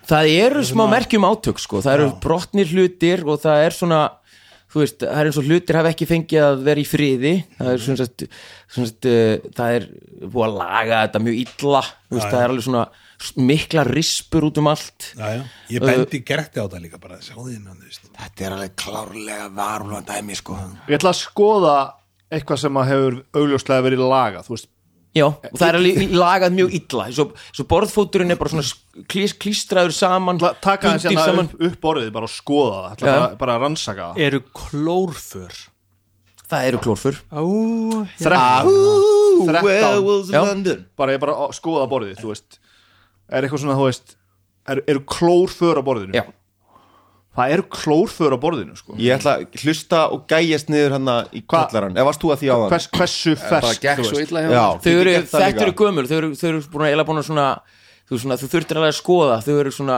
B: Það eru smá merkjum átök, sko Það eru brotnir hlutir og það er svona Þú veist, það er eins og hlutir hafa ekki fengið að vera í friði Það er svona sagt, svona sagt uh, Það er búið að laga þetta mjög illa Þú veist,
D: Já,
B: það er alveg svona s- mikla rispur út um allt
D: já, já. ég bendi gerti á það líka bara, sjáðu þín hann, þú veist
I: Þetta er alveg klárlega varulvan dæmi sko
F: Ég ætla að skoða eitthvað sem að hefur augljóslega verið laga Þú veist,
B: Já, og það er alveg lagað mjög illa Svo, svo borðfóturinn er bara svona sk- klís, klístraður saman
F: ætla að taka þess
B: bundinn
F: hérna
B: saman.
F: upp, upp borðið bara og skoða það ætla
B: Já.
F: bara, bara að rannsaka það
E: Eru klórfur
B: Það eru klórfur
E: Ó,
F: Þrettán, þrettán
B: Já.
F: bara ég bara að skoða borðið, þú veist Er eitthvað svona, þú veist er, Eru klórför á borðinu?
B: Já.
F: Það eru klórför á borðinu, sko
A: Ég ætla að hlusta og gæjast niður hann í
F: Hva-
A: kallarann Ef varst þú að því á hann
F: Hvers, Hversu
G: það
F: fersk,
G: gekk
F: þú
G: svo
F: veist
G: illa hjá
A: Já,
B: Þau
A: getur
B: eru,
A: gert það
B: þetta
A: líka.
B: eru gömul Þau eru, þau eru búin að eila búin að svona Þú, svona, þú þurftir alveg að skoða Þau eru svona,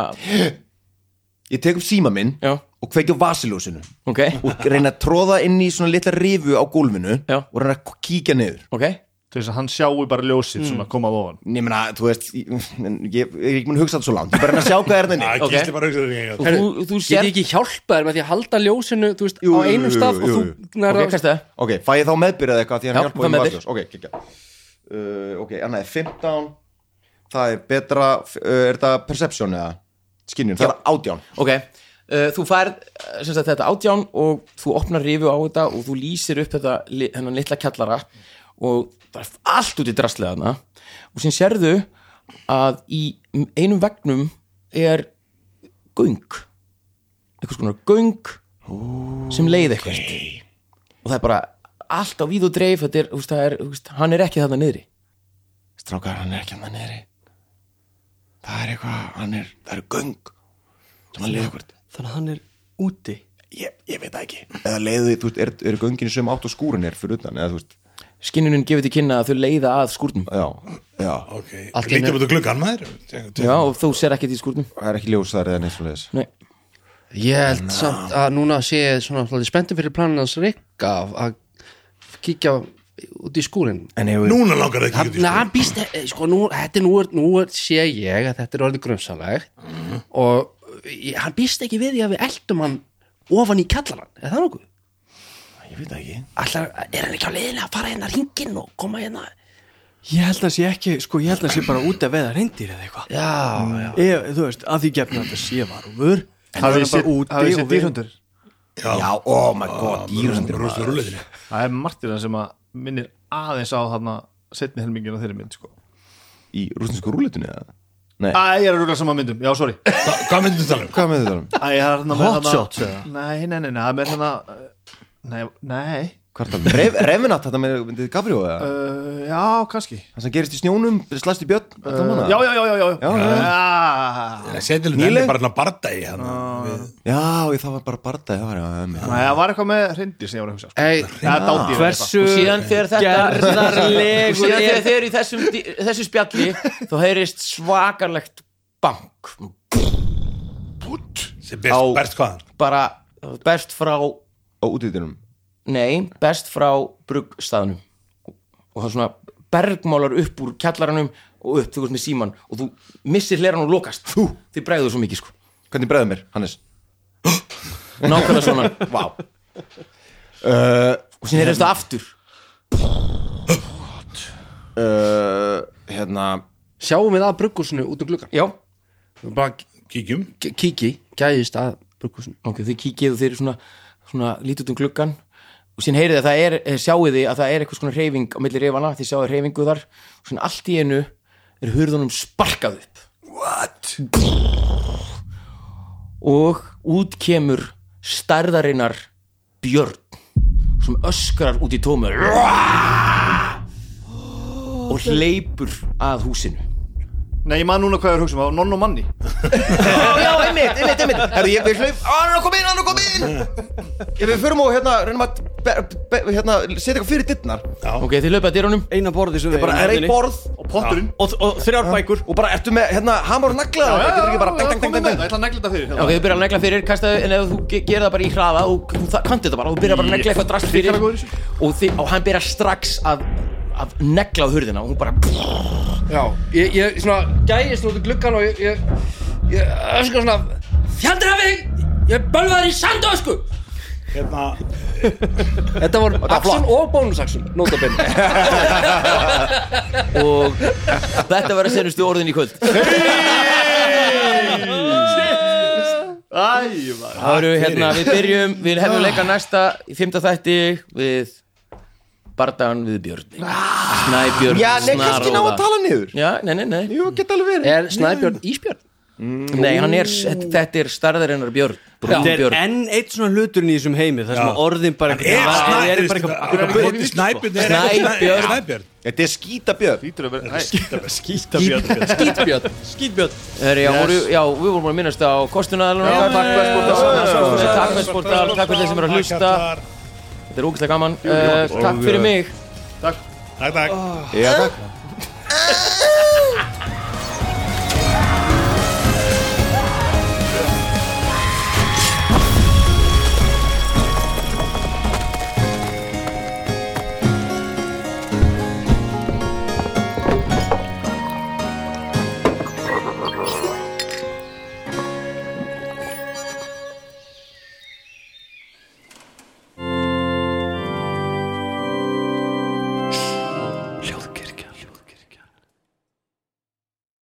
A: Ég tek upp síma minn
B: já,
A: og kveikja á vasiljósinu
B: ok
A: og reyna að tróða inn í svona litla rifu á gólfinu
B: Já.
A: og reyna að kíkja niður
B: Ok,
F: Til þess að hann sjáu bara ljósið sem að koma af ofan
A: Ég meina, þú veist, ég, ég, ég er ekki mun að hugsa þetta svo langt Ég er bara að reyna að sjá hvað er <laughs> þetta
D: að
B: Ok.
D: gísli bara hugsa þér
B: þú, þú, þú
G: Ég
B: sér
G: er ekki hjálpa þér með því að halda ljósinu þú veist,
A: Jú,
G: á
A: jú, jú,
G: einum stað
A: jú, jú.
G: og þú nær
B: Ok,
G: að
B: kannski það
A: Ok, fæ ég þá meðbyrjað eitthvað því að
B: Já,
A: hann hjálpa
B: fá
A: í
B: meðbyr.
A: valjós Ok, kikja uh, Ok, annað er 15 Það er betra, uh, er þetta perception eða skinnjun, það er átján
B: Ok, uh, þú færð eh, sem sagt, þetta átján og þú opnar rifu á þetta og þú lýsir upp þetta li- þennan litla kjallara og það er allt út í drastlega þarna og sem sérðu að í einum vegnum er göng eitthvað skonar göng sem leið eitthvað og það er bara allt á víð og dreif þetta er, þú veist, það er, þú veist, hann er ekki þarna niðri
I: Strákar, hann er ekki hann niðri Það er eitthvað, hann er, það eru göng sem hann leiði okkur
E: þannig að hann er úti
I: ég, ég veit það ekki
A: Eða leiðu, þú veist, er, er göngin sem átt og skúrin er fyrir utan, eða þú veist
B: skinnunin gefur til kynna að þau leiða að skúrnum
A: Já, já,
D: ok,
G: Allt í
D: lítið
G: einu-
D: búið gluggan maður
B: Já, og þú sér ekkert í skúrnum
A: það er ekki ljós þar eða neitt svo leiðis
B: Nei.
G: Ég held samt að núna sé ég svona svolítið spenntum fyrir planin hans Rikka að kíkja út í skúrin
D: núna langar það
G: hann,
D: ekki
G: hann býst, eh, sko, nú, þetta er nú, er- nú er, sé ég að þetta er orðið grunsalegt og ég, hann býst ekki við því að við eldum hann ofan í kjallarann, er það nokkuð?
I: Ég veit það ekki
G: Allar, er hann ekki á leiðinni að fara hérna hringinn og koma hérna?
E: Ég held að hann sé ekki, sko, ég held að hann sé bara úti að veða reyndir eða eitthvað
G: Já, já
E: Ef, þú veist, að því gefna þetta sé varúfur
F: Hafið þið séð- hafið þið séð
E: og við-
F: dýrhundur?
I: Já, oh my god, dýrundir
D: rústu rúleðinni
F: Það er Martina sem að minnir aðeins á þarna setni helmingin á þeirri mynd sko.
A: Í rústinsku rúletunni eða? Nei,
I: Ah.
F: Æ, ég er að rúgla saman myndum, já, sorry Æ,
D: hvað myndum þú tala um?
A: hvað með þetta? um?
F: ég er þarna
E: Hot
F: þarna-
E: shots, eða?
F: Nei, nei, nei, nei, það er með þarna uh, Nei, nei
A: Hvað er þetta? Revenat, þetta með myndið Gabrió eða?
F: uh, Já, kannski
A: Það sem gerist í snjónum, slæst í björn þetta manna.
F: Já, já, já, já, já,
A: Já, já,
F: já.
D: Setilin
A: Nýleg?
D: er bara hann að barda í hann
A: Já, ég, það var bara bardaði, það var já, einmitt.
F: Nei, það var eitthvað með hrindi sem ég var að hugsa sko.
G: Ei,
F: Það er dádýr eða eitthvað.
E: Hversu
B: og síðan þegar þetta og
E: gerðarlegur
B: síðan þegar
E: er
B: þeir eru í þessum, þessu spjalli <laughs> þá heyrist svakarlegt bank
D: sem berst, berst hvaðan
B: bara best frá
A: á útíðinum
B: nei, best frá bruggstaðnum og það svona bergmálar upp úr kjallaranum og upp, þú veist með síman og þú missir hleran og lokast þú, þið bregður svo mikið sko
A: Hvernig bregður mér, Hannes?
B: nákvæmlega <laughs> svona, vá og síðan heyrist það aftur
A: Uh, hérna
G: sjáum við að bruggusinu út um gluggan
B: já,
G: Við bara
D: kíkjum
G: k- kíki, gæðist að bruggusinu
B: ok, þið kíkið og þeir eru svona, svona lítið út um gluggan og síðan heyrið þið að það er, eh, sjáið þið að það er eitthvað svona reyfing á milli reyfana, þið sjáið reyfingu þar og svona allt í einu er hurðunum sparkað upp What? og út kemur stærðarinnar björn sem öskrar út í tómur og hleypur að húsinu
F: Nei, ég man núna hvað ég var að hugsa um, það var nonn og manni
A: Já, einmitt, einmitt, einmitt Herri, ég, við hlaup, á, hann er að koma inn, hann er að koma inn <laughs> Ég, við förum og hérna, reynum að be, be, hérna, setja eitthvað fyrir dittnar
B: ok, þið hlaupaði dyrunum
E: eina borði sem við
A: Bara
E: eigum í
A: er eitt
E: höfninni.
A: borð hérna, og
F: potturinn
A: og, og þrjár bækur og bara ertu með hérna hamar og nagla
F: Já,
A: getur ekki bara
F: já,
A: dang, dang,
F: komið
A: dang,
F: með það, ég
A: dang,
F: ætla að negla þetta fyrir
B: Já, ok, þú byrjar að negla fyrir, kastaðu, en ef þú ge- gerir það bara í hraða og þú þa- kanntu þetta bara, þú byrjar bara að negla eitthvað drast fyrir
F: Hrikalega góður í
B: og, þi, og hann byrjar strax að, að negla á hurðina og hún bara
C: Já, ég, ég svona gæðist út í gluggan og ég, ég, ég
G: sko,
C: öskar svona Fjaldur af þig, ég bölvaður í sandu ösku
D: Hérna,
C: Þetta voru Axon og bónusaxon, nótabinn
B: og þetta verður senustu orðin í kvöld
F: Æ, maður.
B: Það eru hérna, við byrjum, við hefum leika næsta í fymta þætti við bardagan við Björni Snæbjörn,
A: já nei kannski ná að tala niður
B: Já, nei, nei, nei,
A: jú geta alveg verið
C: Er Snæbjörn Ísbjörn?
B: nei, hann er, þetta er starðar hennar Björn, brún
E: Þetta er
B: Björn
E: enn eitt svona hluturinn í þessum heimi þar sem
D: Já.
E: að orðin bara
D: er
E: Það er bara
D: Snæbjörn-
E: eitthvað- eitthvað bull.
D: Orðið Snæbjörn er ekki
B: Snæbjörn.
D: Snæ- Snæbjörn
A: þetta er skítabjörn
F: Lítur að vera- Æ,
D: Skítabjörn
C: Skítbjörn
E: Skítbjörn
B: Herri, já, voru, já, við vorum að minnast á kostunaðalun
F: Já, takk fyrir sportal.
B: Takk fyrir sportal, takk fyrir þeir sem eru að hlusta Þetta er ógæslega gaman Eh, Takk fyrir mig
F: Takk
D: Takk, takk
A: já takk